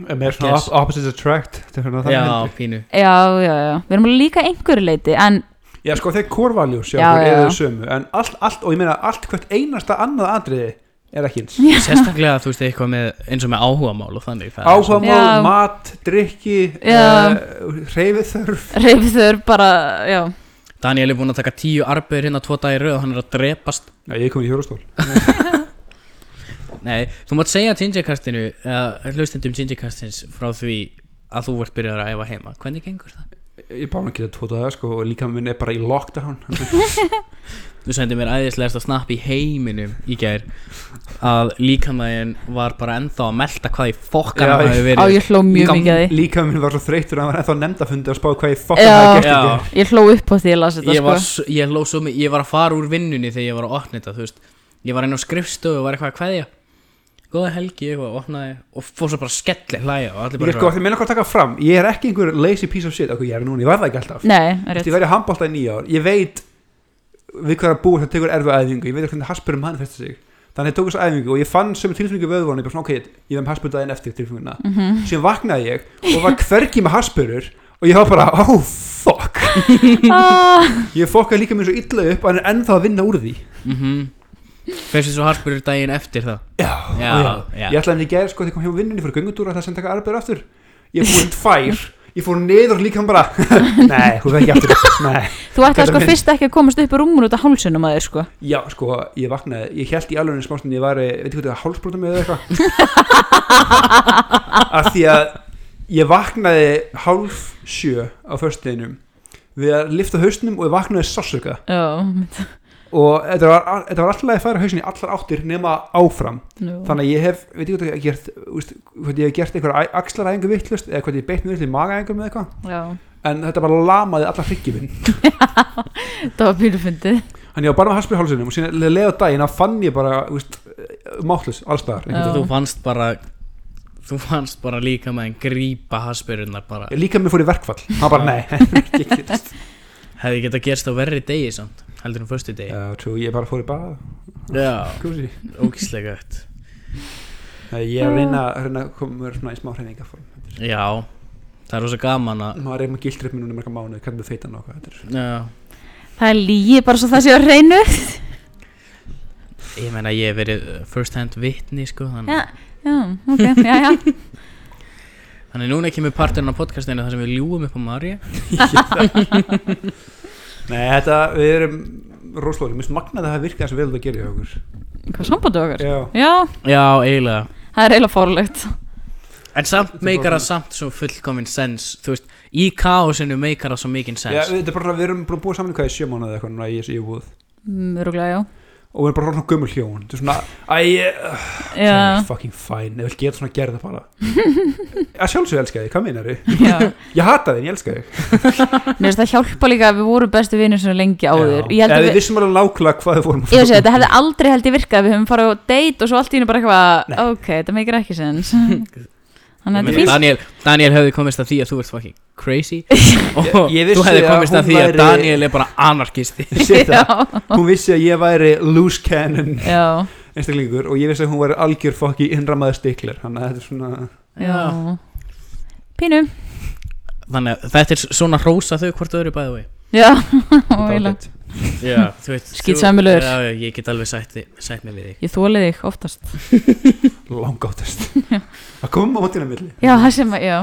Speaker 2: Mér er svona
Speaker 1: Yes.
Speaker 2: yes. opposites attract þetta er svona þannig
Speaker 1: já,
Speaker 2: heldur.
Speaker 1: pínu
Speaker 3: já, já, já, við erum líka einhverju leiti en
Speaker 2: Já, sko þeir core values, já, já,
Speaker 3: Já, já.
Speaker 2: eru þau sömu En allt, allt, og ég meina allt hvert einasta annað atriði er ekki eins
Speaker 1: sérstaklega, þú veist, eitthvað með eins og með áhugamál og þannig það er svo-
Speaker 2: Áhugamál,
Speaker 3: Já.
Speaker 2: mat, drikki
Speaker 3: Já.
Speaker 2: uh, Reyfið þörf
Speaker 3: reyfður bara, já
Speaker 1: Daniel er búinn að taka tíu arbeir hérna tvo dagir rauð og hann er að drepast
Speaker 2: Já, ég er komin í hjórastól
Speaker 1: Nei, þú mátt segja Gingerkastinu eða hlustendum Gingerkastins frá því að þú vart byrjaður að æfa heima hvernig gengur það?
Speaker 2: Ég báði ekki þetta tvo daga, sko Og líka minn er bara í lockdown
Speaker 1: Þú sendir mér æðislegasta snapp í heiminum í gær að líkamæðin var bara ennþá að melta hvað í fokkan
Speaker 2: Já,
Speaker 1: hann
Speaker 2: ég-
Speaker 1: hafi
Speaker 3: á,
Speaker 1: verið
Speaker 3: ég hló mjög mikið að því
Speaker 2: Líka minn var svo þreytur að hann var ennþá nefndafundi að spá hvað ég
Speaker 3: Já.
Speaker 2: fokkan það gert
Speaker 1: Já.
Speaker 2: ekki
Speaker 3: ég hló upp á því að lasa þetta,
Speaker 1: ég
Speaker 3: sko
Speaker 1: var, s- ég, hló svo, mi- ég var að fara úr vinnunni þegar ég var að opna þetta þú veist. ég var inn á skrifstöðu og var eitthvað að kveðja góða helgi, eitthvað, opnaði og fór svo bara skelli hlæja og allir
Speaker 2: Ég
Speaker 1: bara
Speaker 2: er sko, þegar minna hvað taka fram Ég er ekki einhver lazy piece of shit Akkur ég er núna, ég var það ekki alltaf
Speaker 3: nei, er
Speaker 2: Ég
Speaker 3: rétt
Speaker 2: væri handbólt að nýja ár Ég veit við hvað að búa þetta tekur erfa æfingu Ég veit hvernig haspurinn mann fyrst sig Þannig ég tók þessu æfingu og ég fann sömu tilfinningu í vöðvónu Ég bara svona, ok, ég vem haspurinn daginn eftir tilfinninguna mm
Speaker 1: Mhm.
Speaker 2: Síðan vaknaði ég og var hvergi með haspurur Og ég var bara, oh fuck
Speaker 3: ah,
Speaker 2: Ég fokkaði líka mér svo illa upp að hann er ennþá að vinna úr því
Speaker 1: mm -hmm. fyrst svo harpurur daginn eftir það
Speaker 2: Já,
Speaker 1: Já, já.
Speaker 2: Ég ætlaði henni í gerð, sko, þegar ég kom hjá vinnunni fyrir göngutúra Það sem taka arbeigur aftur Ég fór í tvær, ég fór niður og líka hann bara Nei, hún vekki aftur Nei
Speaker 3: þú ætti
Speaker 2: Þetta
Speaker 3: sko
Speaker 2: minn-
Speaker 3: fyrst ekki að komast upp í rúmun út af hálsunum að þér, sko
Speaker 2: Já, sko, ég vaknaði, ég held í alveg smástund ég var, eh, veit ekki hvað það, hálsbróta með eða eitthvað af því að ég vaknaði hálf sjö á föstudeginum við að lifta hausnum og ég vaknaði sársöka
Speaker 3: já,
Speaker 2: og þetta var, þetta var alltaf að færa hausnum í allar áttir nema áfram
Speaker 3: nú.
Speaker 2: þannig að ég hef, veit ekki hvað ég hef gert úst, hvað ég hef gert einhverja axlaræðingu vittlust eða hvað ég beitt mér vittlust í magaæðingum eða eitthvað
Speaker 3: já,
Speaker 2: en þetta bara lamaði alla hryggjuminn
Speaker 3: þetta var pílu fyndið
Speaker 2: hann ég var bara með haspur í hálsunum og síðan leða daginn að fann ég bara, úst, máttlust allstaðar einhvern
Speaker 3: Já.
Speaker 1: þú fannst bara þú fannst bara líka með en grípa haspyrunnar bara
Speaker 2: líka mér fór í verkfall hann bara nei ekki getast.
Speaker 1: hefði geta gerst á verri degi samt heldur um förstu degi
Speaker 2: já, trú, ég bara fór í bað
Speaker 1: já,
Speaker 2: kúsi
Speaker 1: ógíslega gött
Speaker 2: ég er að reyna, að reyna að koma mér svona í smá hreiningaform
Speaker 1: já, það er rosa gaman að
Speaker 2: maður er með gildri upp minn núna í marga mánu hvernig við feitan okkur þetta er
Speaker 1: já,
Speaker 3: það er lígi bara svo það sé að reynu
Speaker 1: ég meina ég hef verið uh, first hand vitni sko
Speaker 2: Mm.
Speaker 1: þannig,
Speaker 3: já, já, ok, já, já
Speaker 1: þannig núna kemur parturinn á podcastinu þar sem við ljúum upp á Marja
Speaker 2: nei, þetta, við erum rosalóri, mér finnst magnað að það virka eins og vel það gerir hjá okkur
Speaker 3: hvað sambandu okkar?
Speaker 2: já,
Speaker 3: já,
Speaker 1: já, eiginlega
Speaker 3: það er eiginlega fórlegt
Speaker 1: en samt
Speaker 2: Þetta er
Speaker 1: meikar
Speaker 2: bara-
Speaker 1: það samt svo fullkomin sens þú veist, í kaosinu meikar það svo mikinn
Speaker 2: já
Speaker 1: sens
Speaker 2: þetta er bara, við erum búin að búa saman í hvað í sjö mánuði eitthvað núna í þessu íbúð
Speaker 3: mörgulega, Mm, já
Speaker 2: og við erum bara svona gömul hjón þetta er svona, æ, uh, það
Speaker 3: já,
Speaker 2: er fucking fine ef við getum svona gerða bara að sjálfsög elska þig, hvað meinar
Speaker 3: já,
Speaker 2: ég hata þig, en ég elska þig
Speaker 3: mér finnst það hjálpa líka að við vorum bestu vinir svona lengi
Speaker 2: Já.
Speaker 3: áður ég held
Speaker 2: Ef
Speaker 3: að
Speaker 2: við
Speaker 3: við,
Speaker 2: vissum alveg nákvæmlega hvað við vorum að um.
Speaker 3: ég veist
Speaker 2: fara.
Speaker 3: þetta hefði aldrei held ég virkað við höfum farið á date og svo allt í hennu bara
Speaker 2: Nei.
Speaker 3: eitthvað ok, þetta meikir ekki sens þannig að
Speaker 1: Ég
Speaker 3: þetta er
Speaker 1: meina,
Speaker 3: fínt
Speaker 1: Daniel, Daniel hefði komist að því að þú ert fucking crazy og
Speaker 2: Ég- ég vissi
Speaker 1: þú hefði
Speaker 2: að
Speaker 1: komist
Speaker 2: hún
Speaker 1: að því að
Speaker 2: væri-
Speaker 1: Daniel er bara anarkisti
Speaker 2: Sitt
Speaker 3: já,
Speaker 2: það. Hún vissi að ég væri loose cannon
Speaker 3: já,
Speaker 2: einstaklingur og ég vissi að hún væri algjör fokki innramaður stikler þannig að þetta er svona
Speaker 3: já pínu,
Speaker 1: þannig að þetta er svona hrósa þau hvort öðru bæði vei
Speaker 3: já,
Speaker 2: þetta var
Speaker 3: óvíla
Speaker 2: ágætt.
Speaker 1: Já, þú veit
Speaker 3: Skítsamurlegur.
Speaker 1: þú- Já, já, ég get alveg sætt, þi- sætt mig við þig
Speaker 3: ég þóli þig oftast
Speaker 2: langáttast að koma á mótina milli
Speaker 3: já, það sem að, já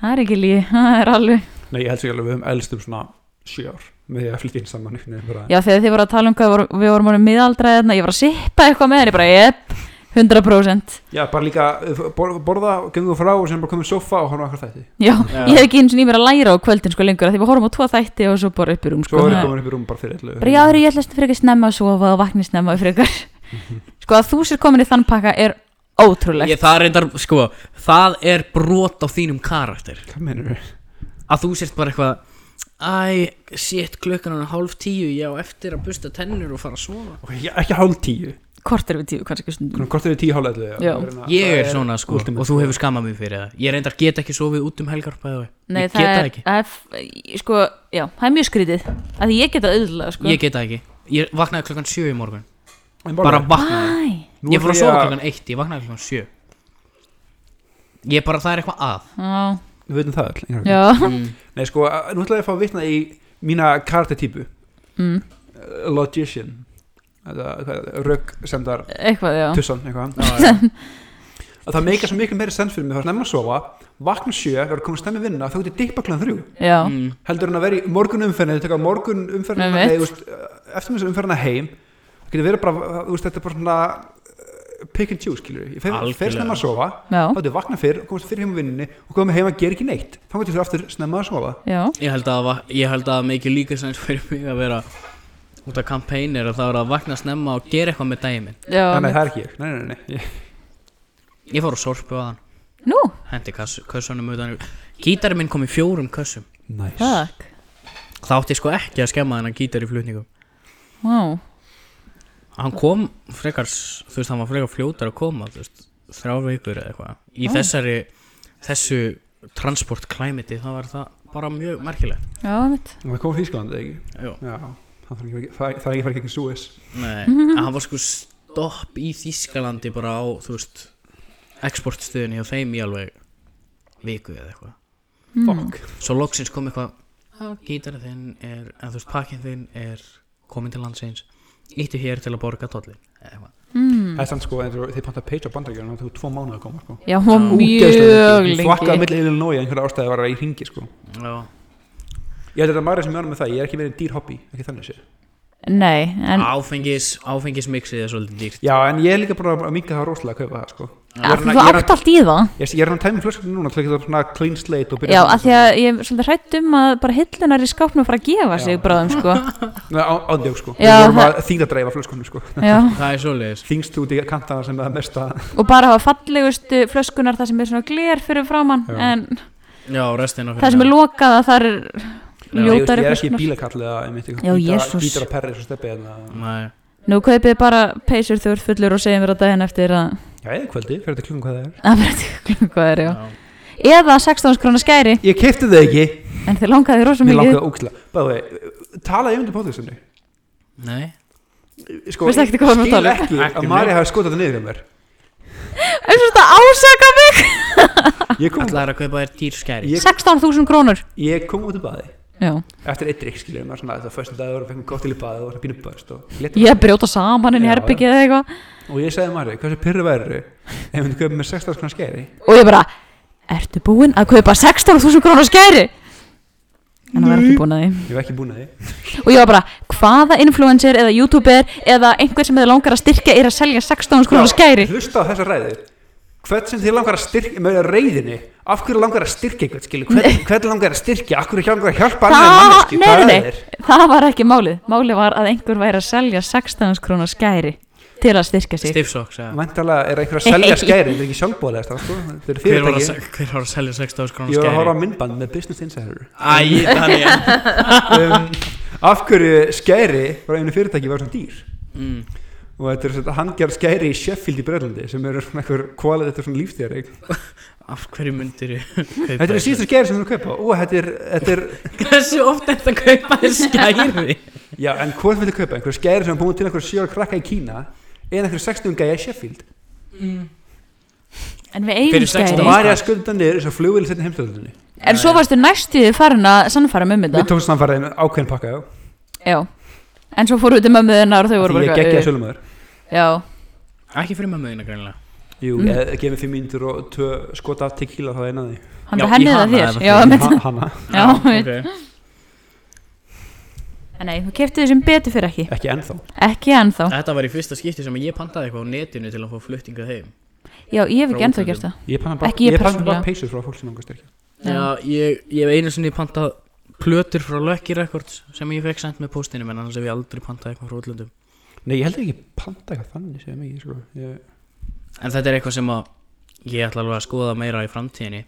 Speaker 3: það er ekki lígi, það er alveg
Speaker 2: Nei, ég held sér alveg við höfum elst um svona sjö ár með því að flytja inn saman einhvern veginn bara.
Speaker 3: Já, þegar þið voru að tala um hvað voru, við vorum orðin miðaldra þarna, ég var að sippa eitthvað með henni, bara jepp, 100%.
Speaker 2: Já, bara líka uh, bor, borða, gengum frá og sem bara komum í sofa og horfa okkur þætti
Speaker 3: Já, ég hef ekki eins og nýmur að læra á kvöldin sko lengur, af því við horfum á tvo þætti og svo bara upp í rúm
Speaker 2: Svo
Speaker 3: sko.
Speaker 2: erum við
Speaker 3: Nei.
Speaker 2: komin upp í rúm bara fyrir ellu
Speaker 3: Bara já, heyrðu, ég ætlast fyrir ekki snemma að sofa og vakni snemma fyrir ykkur. Sko að þú sér komin í þann pakka er
Speaker 1: Mhm.
Speaker 3: ótrúlegt.
Speaker 1: ég, Það reyndar, sko, það er brot á þínum karakter
Speaker 2: Hvað meinar við?
Speaker 1: Að þú sért bara eitthvað Æ, shit, klukkan hann er hálf tíu Ég á eftir að busta tennur og fara að sofa
Speaker 2: Ekki hálf tíu
Speaker 3: Kort er við tíu, kannski stundum
Speaker 2: Hvort er hérna- þið tíu hálf ellu?
Speaker 3: Já.
Speaker 1: Ég er svona sko
Speaker 2: ultimate.
Speaker 1: og þú hefur skamað mig fyrir það Ég reyndar get ekki sofið út um helgar bæði
Speaker 3: Nei,
Speaker 1: Ég
Speaker 3: það
Speaker 1: get
Speaker 3: er,
Speaker 1: það ekki.
Speaker 3: það er f- sko, já, það er mjög skrítið að því ég geta auðvitað, sko
Speaker 1: Ég get það ekki Ég vaknaði klokkan 7 í morgun Bara
Speaker 2: Bara
Speaker 1: vaknaði
Speaker 3: Æ,
Speaker 2: Nú
Speaker 1: Ég fór
Speaker 2: ætla
Speaker 1: að
Speaker 2: ég
Speaker 1: sofa
Speaker 2: að-
Speaker 1: klokkan 1 Ég vaknaði klokkan 7 Ég bara það er eitthvað að
Speaker 3: já,
Speaker 2: Við veitum það öll einhvern veginn.
Speaker 3: já
Speaker 1: Mm,
Speaker 2: Nei sko, að- nú ætla ég að fá að vitna í mína kartetypu
Speaker 3: mm,
Speaker 2: Logician Rögg sem þar
Speaker 3: Eitthvað, já
Speaker 2: Tussan eitthvað
Speaker 1: Já, já.
Speaker 2: að það meika svo miklu meiri sens fyrir mig það var nefn að sofa, vakna sjö, vera komin stemmi vinna þá getur dippa klæðan þrjú
Speaker 3: Já,
Speaker 1: Mm.
Speaker 2: heldur hann að vera í morgun umferðin taka morgun umferðin
Speaker 3: Einmitt.
Speaker 2: eftir umferðina heim það getur verið bara, þú veist, þetta er bara svona uh, pick and choose, skilur ég fer, fer
Speaker 1: Algjörlega.
Speaker 2: snemma að sofa,
Speaker 3: já,
Speaker 2: þá getur vakna fyrr komast fyrr heim á vinninni og komið heim að gera ekki neitt þá getur þú aftur snemma að sofa
Speaker 3: já
Speaker 1: Ég held að va- ég held að það mikið líka sæns fyrir mig að vera út af kampænir og það er að vakna snemma og gera eitthvað með daginn minn.
Speaker 3: Já,
Speaker 2: nei, nei, það er ekki ég, nei, nei, nei, nei.
Speaker 1: Ég fór að sorpu að hann
Speaker 3: nú,
Speaker 1: Hendi kössunum utan yfir. Gítarinn minn kom í fjórum kössum
Speaker 2: Nice.
Speaker 3: takk
Speaker 1: Það átti ég sko ekki að skemma þennan gítar í flutningum
Speaker 3: Vá,
Speaker 1: Hann kom frekar, s- þú veist, hann var frekar fljótar að koma, þú veist, þrjá vikur eða eitthvað. Í
Speaker 3: Ó.
Speaker 1: þessari, þessu transport climate, þá var það bara mjög merkilegt.
Speaker 3: já, mitt
Speaker 2: Og það kom fískland, ekki?
Speaker 1: Jú.
Speaker 2: Já, það þarf ekki að fara- það þarf ekki að fara ekki Suez
Speaker 1: Nei, en hann var sko stopp í Þískalandi bara á, þú veist, exportstöðinni hjá þeim í alveg viku eða eitthvað.
Speaker 3: Hmm,
Speaker 2: Fuck
Speaker 1: Svo loksins kom eitthvað, gítarinn þinn er, en þú veist, pakkinn þinn er komin til landsins, íttu hér til að borga dollin, eða eitthvað.
Speaker 3: hmm.
Speaker 2: Það er samt sko, þegar þú- þið pantaði page á bandaríkjörnum þá þú tvo mánuði að koma sko.
Speaker 3: Já, hún var
Speaker 2: Ógeðslega
Speaker 3: mjög
Speaker 2: lengi. Ég flakkaði
Speaker 3: lengi
Speaker 2: millir Illinois einhverja ástæði var að í ringi sko.
Speaker 1: Já.
Speaker 2: Ég held að þetta maður sem mjönum með það, ég er ekki verið dýr hobby, ekki þannig sér.
Speaker 3: Nei, en
Speaker 1: Ah, Áfengis, áfengismixið er svolítið dýrt.
Speaker 2: Já, en ég er líka bara að minga það rosalega að kaupa það sko.
Speaker 3: Ja,
Speaker 2: Ég er
Speaker 3: þú
Speaker 2: að- ég er hérna-
Speaker 3: átt allt í það
Speaker 2: Ég, ég er hann að tæmi flöskunni núna til að geta svona clean slate og byrja
Speaker 3: Já,
Speaker 2: svona-
Speaker 3: af því að ég er svolítið hrætt um að bara hillunar í skápnum fara að gefa sig
Speaker 2: Já.
Speaker 3: bráðum, sko
Speaker 2: Nei, á- Ándjók sko,
Speaker 3: Já,
Speaker 2: við vorum
Speaker 3: það-
Speaker 2: að þýða dreifa flöskunni sko.
Speaker 3: Já,
Speaker 1: Það er svolítið.
Speaker 2: Þingst út í kantana sem er það mesta
Speaker 3: og bara hafa fallegustu flöskunar það sem er svona gler fyrir framann
Speaker 2: Já.
Speaker 3: en
Speaker 1: Já, hérna. restina
Speaker 3: það sem er lokað að það er
Speaker 2: Ég veist,
Speaker 3: ljótari
Speaker 2: ég er ekki
Speaker 3: flöskunar
Speaker 2: bílakall eða einmitt eitthvað
Speaker 3: Já,
Speaker 2: gítar-
Speaker 3: Jesús.
Speaker 2: gítar að perri svo steppi hérna. en
Speaker 1: Nei,
Speaker 3: Nú kaupið bara peysur þú ert fullur og segjum mér á daginn eftir að
Speaker 2: Já, ég kvöldi, fyrir þetta klungum hvað það er
Speaker 3: að vera til klukku hvað er,
Speaker 1: já.
Speaker 3: já Eða 16 krónar skæri,
Speaker 2: Ég keipti það ekki,
Speaker 3: en þið langaði rosa
Speaker 2: mér
Speaker 3: mikið
Speaker 2: langaði ógæslega Bæði, talaði ég um þetta podcastinu
Speaker 1: Nei,
Speaker 2: sko,
Speaker 3: Veistu ekkert hvað við erum að
Speaker 2: skil
Speaker 3: tala um?
Speaker 2: ekki
Speaker 1: Ekki
Speaker 2: að Mari hafi skotað það niður hjá mér
Speaker 3: En svo þetta ásaka mig
Speaker 2: ég kom,
Speaker 1: ætlaðir að kaupa þér dýr skæri
Speaker 2: Ég-
Speaker 3: 16.000 krónur
Speaker 2: ég kom út í baði
Speaker 3: Já,
Speaker 2: eftir eitt drikk skiljum maður svona þetta var fyrstu dagur og fengum gott til í baði og var að býna bæst og, lét-
Speaker 3: ég brjóta saman inn í
Speaker 2: Já,
Speaker 3: herbyggið eða eitthvað
Speaker 2: og ég sagði Mari, hversu pyrru væri ef hún köpum með 16 skoðan skeri
Speaker 3: Og ég bara, ertu búinn að kaupa 16.000 krónar skæri? En það var ekki búin að því
Speaker 2: ég var ekki búin að því
Speaker 3: Og ég var bara, hvaða influencer eða youtuber eða einhver sem þið langar að styrkja er að selja 16.000 krónar skæri
Speaker 2: hlusta á þessa ræði hvert sem þið langar að styrkja með reyðinni af hverju langar að styrkja eitthvað skilju hvern, hvern langar að styrkja, af hverju ekki langar að hjálpa annað
Speaker 3: Það,
Speaker 2: manneski,
Speaker 3: nei,
Speaker 2: það
Speaker 3: nei,
Speaker 2: er
Speaker 3: nei,
Speaker 2: þér.
Speaker 3: það var ekki málið Málið var að einhver væri að selja 16 krónar skæri til að styrkja sig
Speaker 1: Stifsocks, eða
Speaker 2: Væntanlega er einhver að selja skæri, þetta er ekki sjálfbóðlega sko. þetta er
Speaker 1: Hver var að,
Speaker 2: fyrirtæki
Speaker 1: se- hver var að selja 6000 krónar
Speaker 2: ég
Speaker 1: skæri?
Speaker 2: var að horfa á myndband með Business Insider
Speaker 1: Æ, Daniel
Speaker 2: um, af hverju skæri frá einu fyrirtæki var svona dýr
Speaker 1: mm.
Speaker 2: og þetta er svona handgjörð skæri í Sheffield í Brelandi sem eru svona einhver kvalið þetta er svona lífstýr þetta
Speaker 1: Af hverju myndir kaupa
Speaker 2: eru síðustu skæri sem þú kaupa og þetta er, þetta er
Speaker 1: Hversu oft er þetta að kaupa þér skæri?
Speaker 2: já en hvort vil þú kaupa einhver skæri sem er búin til einhver sjóra krakka í Kína eða einhver 16 gæja í Sheffield
Speaker 3: En við
Speaker 1: Fyrir 16
Speaker 3: eigum
Speaker 2: og
Speaker 1: Nei.
Speaker 3: skæri
Speaker 2: Marja skulda niður þess að flugvili setna heimstöldunni
Speaker 3: En svo varstu næstuðið farin að sannfæra mig um
Speaker 2: við
Speaker 3: þetta
Speaker 2: tókum samfæraðin ákveðin pakka já
Speaker 3: Já En svo fóru við til mömmu þinnar og þau voru
Speaker 2: því ég
Speaker 3: bara
Speaker 2: geggjaði
Speaker 3: eitthvað,
Speaker 2: sölumöður
Speaker 3: "Uh, Já,
Speaker 1: Ekki fyrir maður meðina greinilega
Speaker 2: jú
Speaker 3: Mhm.
Speaker 2: eða gefið mér fimm mínútur og tvö skota af tequila þá er einaði
Speaker 3: hann
Speaker 1: Já,
Speaker 3: það henni
Speaker 1: í
Speaker 3: það
Speaker 1: hana
Speaker 3: þér
Speaker 1: eða
Speaker 3: Já,
Speaker 1: fyrir-
Speaker 3: mitt
Speaker 2: hana
Speaker 3: Já, mitt
Speaker 1: ok.
Speaker 3: En nei, þú keftið þessum betur fyrir ekki
Speaker 2: ekki ennþá
Speaker 3: Ekki ennþá
Speaker 1: Þetta var í fyrsta skipti sem ég pantaði eitthvað á netinu til að fá fluttingað heim
Speaker 3: Já, ég hef
Speaker 1: Frá
Speaker 3: ekki ennþá
Speaker 1: útlöndum.
Speaker 3: gert það
Speaker 2: ég panna bara,
Speaker 3: Ekki ég
Speaker 2: ég panna bara
Speaker 3: persónulega.
Speaker 2: peysur frá fólk sem langar styrkja
Speaker 3: Já.
Speaker 1: Já, ég, ég hef einu sinni pantað plötur frá Lucky Records sem ég fekk sendt með póstinum en annars hef ég aldrei pantað eitthvað frá útlöndum
Speaker 2: Nei, ég held ekki panta eitthvað þannig sem ekki, sko. Ég,
Speaker 1: En þetta er eitthvað sem að ég ætla alveg að skoða meira í framtíðinni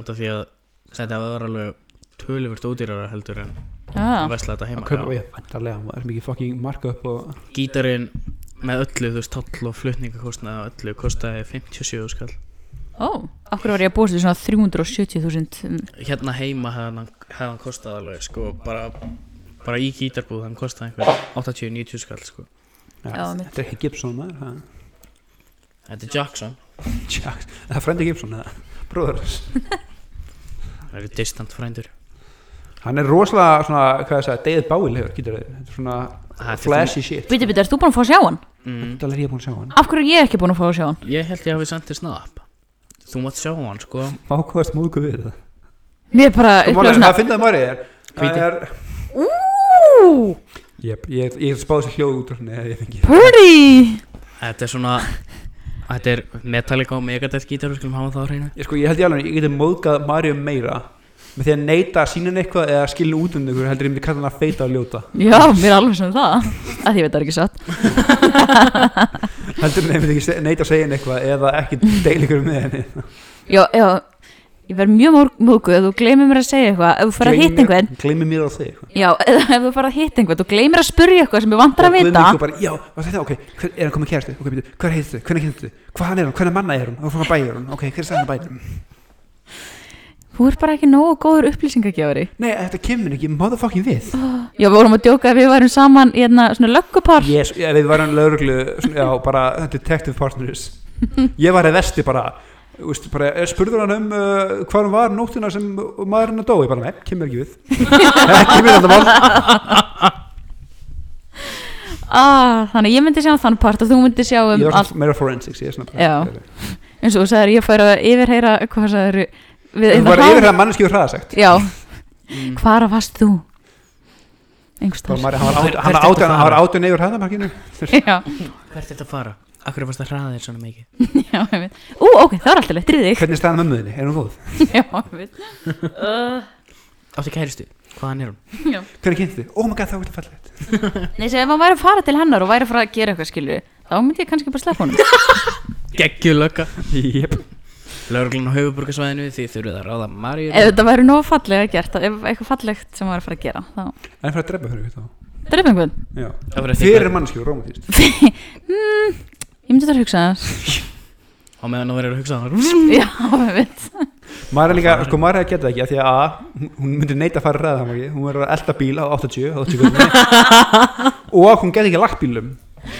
Speaker 1: út af því að þetta var alveg töluvert ódýrara heldur en
Speaker 3: Já,
Speaker 1: að vesla þetta
Speaker 2: að kaupa,
Speaker 1: heima já.
Speaker 2: ég, vantarlega, maður er mikið fucking marka upp og...
Speaker 1: Gítarinn með öllu, þú veist, toll og flutningakostnað og öllu kostaði 57 skall
Speaker 3: Ó, af hverju var ég að búast til svona 370.000
Speaker 1: hérna heima hefði hann, hefði hann kostað alveg sko bara, bara í gítarbúð hann kostaði einhver 80-90 skall sko.
Speaker 3: Já, mitt.
Speaker 2: Þetta er ekki Gibson maður ha?
Speaker 1: þetta er Jackson,
Speaker 2: Jack- Það er frendi Gibson eða? Bróður hans
Speaker 1: það eru distant frændur
Speaker 2: Hann er rosalega svona, hvað ég sagði, David Bowie hefur, getur þau Þetta er svona
Speaker 1: er
Speaker 2: flashy shit
Speaker 3: Biti, biti, ert þú búin að fá að sjá hann?
Speaker 1: mm,
Speaker 2: Þetta er ég búin að sjá hann
Speaker 3: Af hverju er ég ekki búin að fá að sjá hann?
Speaker 1: ég held ég hafi sendið snap þú mátt sjá hann sko
Speaker 2: Mákvæðast múku við það
Speaker 3: Mér bara upplega svona
Speaker 2: Það finnst það maður er
Speaker 1: Hvíti.
Speaker 2: Það er
Speaker 3: Ú,
Speaker 2: Jep, ég, ég spáði þessi hljóð út úr henni eða ég fengi
Speaker 3: pretty
Speaker 1: þetta er svona þetta er Metallica og Megadeth gítar við skulum hafa það á hreinu
Speaker 2: Ég sko, ég held ég alveg, ég geti móðgað Mario meira með því að neita að sína henni eitthvað eða skilja út um ykkur heldur ég myndi kalla hann að feita og ljóta
Speaker 3: Já, mér er alveg sem það Að því ég veit það er ekki satt
Speaker 2: heldur ég myndi ekki se- neita að segja henni eitthvað eða ekki deil ykkur með henni
Speaker 3: Já, já, ég verð mjög mór- móguð ef þú gleymir mér að segja eitthvað Ef þú fer að hitta einhvern
Speaker 2: Gleimi mér á þig
Speaker 3: Já, eða ef þú fara að hitta einhvern Þú gleymir að spurja eitthvað sem ég vantar að
Speaker 2: Og Guðni
Speaker 3: vita
Speaker 2: sko bara, já, var þetta, ok, hver, er hann komið kærastu? Ok, býtu, hver heitir þau? Hvernig kynntu þau? Hvaðan er hann? Hvernig manna er hann? Og hvað bæði er hann? Ok, hver er sann bæði?
Speaker 3: Þú er bara ekki nógu góður upplýsingagjafari
Speaker 2: Nei, þetta kemur ekki, motherfucking við
Speaker 3: Já, við vorum að djóka að við værum saman í hérna svona löggupar
Speaker 2: Yes, já, við varum lauruglu, svona, já, bara detective partners Ég var í vesti bara, úst, bara eh, spurður hann um uh, hvað hann var nóttina sem maðurinn að dó Ég bara, nei, kemur ekki við Ekki við þetta mál
Speaker 3: ah, Þannig að ég myndi sjá um þann part og þú myndi sjá um
Speaker 2: Ég var
Speaker 3: allt
Speaker 2: svona meira forensics, ég er svona
Speaker 3: Já. eins og þú sagðir ég færa að yfirheyra hvað sagðir við
Speaker 2: Þú
Speaker 3: hérna
Speaker 2: var
Speaker 3: há-
Speaker 2: yfir það manneskið hraðasegt
Speaker 3: Já,
Speaker 1: mm.
Speaker 3: hvar varst þú? Einhvers
Speaker 2: Hann
Speaker 3: þar
Speaker 2: var átján- hann
Speaker 1: Hvert ertu að
Speaker 2: var
Speaker 1: fara?
Speaker 2: átján yfir hraðamarkinu
Speaker 3: Já,
Speaker 1: hvert er þetta að fara? Akkur er fast að hraða þér svona mikið
Speaker 3: já, ég veit Ú, ok, það var alltaf leitt, drýði
Speaker 2: Hvernig er staðan með möðinni? Er hún góð?
Speaker 3: þig Já, ég veit uh,
Speaker 1: áttu kæristu, hvaðan er hún?
Speaker 3: já.
Speaker 2: Hvernig kynntu þið? Oh my god, það var þetta fallegt
Speaker 3: Nei, sem ef hann væri að fara til hennar og væri að fara að gera eitthvað skilju þá myndi ég kannski bara sleppa honum
Speaker 1: geggjur lögga
Speaker 2: Jep
Speaker 1: lauruglun á höfuburgarsvæðinu því þurfið að ráða Maríu
Speaker 3: Ef þetta væri nógu fallega gert ef eitthvað fallegt sem hann væri að fara að gera þá
Speaker 2: En fyrir að drepa fyrir við þá
Speaker 3: drepa einhvern
Speaker 2: Já
Speaker 1: Það verður
Speaker 2: Þið
Speaker 1: þykkar-
Speaker 2: eru mannskjöf romantíst
Speaker 3: Ég myndi þetta að hugsa það
Speaker 1: á meðan þú verður að hugsa það
Speaker 3: Já, ég veit
Speaker 2: Maður er líka, sko maður er að geta það ekki af Því að A, hún- hún myndi neita að fara ræða það ekki Hún verður að elda bíl á 80, 80 götunni. Og hún geti ekki lagt bílum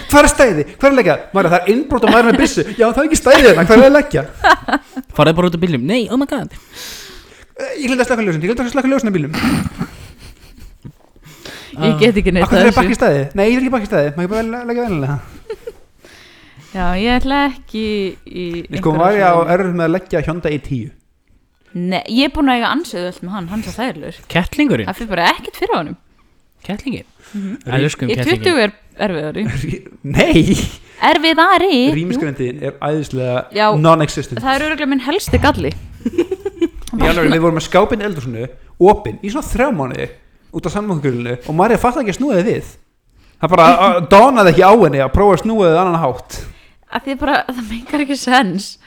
Speaker 2: Hvað er stæði? Hvað er að leggja? Maður það er innbrot og maður er með byssu Já það er ekki stæði hérna, hvað er að leggja?
Speaker 1: farið bara út af bílum, nei, oh my god
Speaker 2: Eh, Ég glinda að slaka ljósin, ég glinda að slaka ljósin af bílum
Speaker 3: Ég get ekki neitt
Speaker 2: Akkur Ah. er bakki stæði? Nei, ég er ekki bakki stæði, maður er bara vel- leggja venlega
Speaker 3: Já, ég ætla ekki í
Speaker 2: Sko
Speaker 3: einhverja
Speaker 2: maður er á
Speaker 3: svona-
Speaker 2: erfið með að leggja Honda i10
Speaker 3: Nei, ég er búin að eiga ansöðu öll með hann, hann er svo þægilegur.
Speaker 1: kettlingurinn,
Speaker 3: Það fyrir bara ekkert fyrir á honum.
Speaker 1: kettlingin
Speaker 3: Mhm.
Speaker 1: elskum
Speaker 3: Ég 20
Speaker 1: kettlingin
Speaker 3: er erfiðari.
Speaker 2: Nei,
Speaker 3: Erfiðari? Jú,
Speaker 2: rýmisgrendiðin er æðislega
Speaker 3: Já.
Speaker 2: non-existent
Speaker 3: Það er öruglega minn helsti galli.
Speaker 2: Í alveg, við vorum með skápinn í eldhúsinu opinn í svona þrjá mánuði út á samfélagurlinu og Marja fatt ekki að snúa þið við það bara uh, dánaði ekki á henni að prófa að snúa þið annan hátt
Speaker 3: Af því bara, það mengar ekki sens.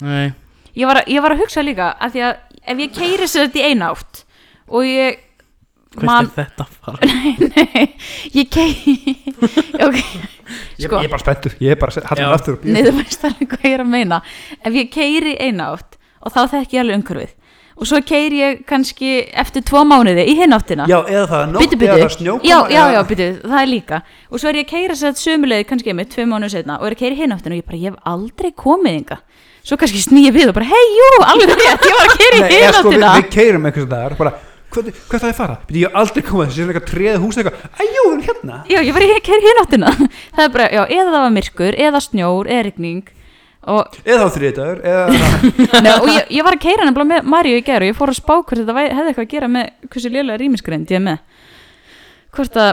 Speaker 1: nei,
Speaker 3: Ég var, að- ég var að hugsa líka, af því að ef ég keiri sér þetta í eina átt og ég...
Speaker 1: hvert
Speaker 3: Man-
Speaker 1: er þetta að fara
Speaker 3: Nei, ég keiri... ok, Sko,
Speaker 2: ég, ég er bara spenntur, ég er bara hattum
Speaker 1: Já.
Speaker 2: aftur og
Speaker 3: Nei,
Speaker 2: býð
Speaker 3: þú veist alveg hvað ég er að meina Ef ég keiri eina átt og þá þekki ég alveg umhverfið og svo keiri ég kannski eftir tvo mánuði í hinn áttina
Speaker 2: já, eða það er nótt,
Speaker 3: Bíddu,
Speaker 2: eða
Speaker 3: bíddu.
Speaker 2: það er snjókoma
Speaker 3: Já, já,
Speaker 2: eða-
Speaker 3: já, bíddu, það er líka Og svo er ég að keira sér sömulegið kannski með tvö mánuð setna og er að keira hinn áttina og ég bara, ég hef aldrei komið inga Svo kannski snýja við og bara, hei, jú, alveg rétt, ég var að keira
Speaker 2: Nei,
Speaker 3: í
Speaker 2: eða
Speaker 3: hinn
Speaker 2: sko, við,
Speaker 3: áttina
Speaker 2: við keirum eitthvað sem það er bara, hvað, hvað það er fara? Býtu, ég hef aldrei komað þessi, ég er eitthvað treð hús eitthvað, æjú, við erum hérna
Speaker 3: Já, ég var að keira í hinn áttina Það er bara, já, eða það var myrkur, eða snjór, eða rigning og
Speaker 2: eða þá þriðdagur, eða
Speaker 3: Nei, og ég, ég var að keira nefnilega með Maríu í gerð og ég fór að spá hvort þetta væ- hefði eitthvað að gera með hversu lélega rýmisgreind ég er með hvort að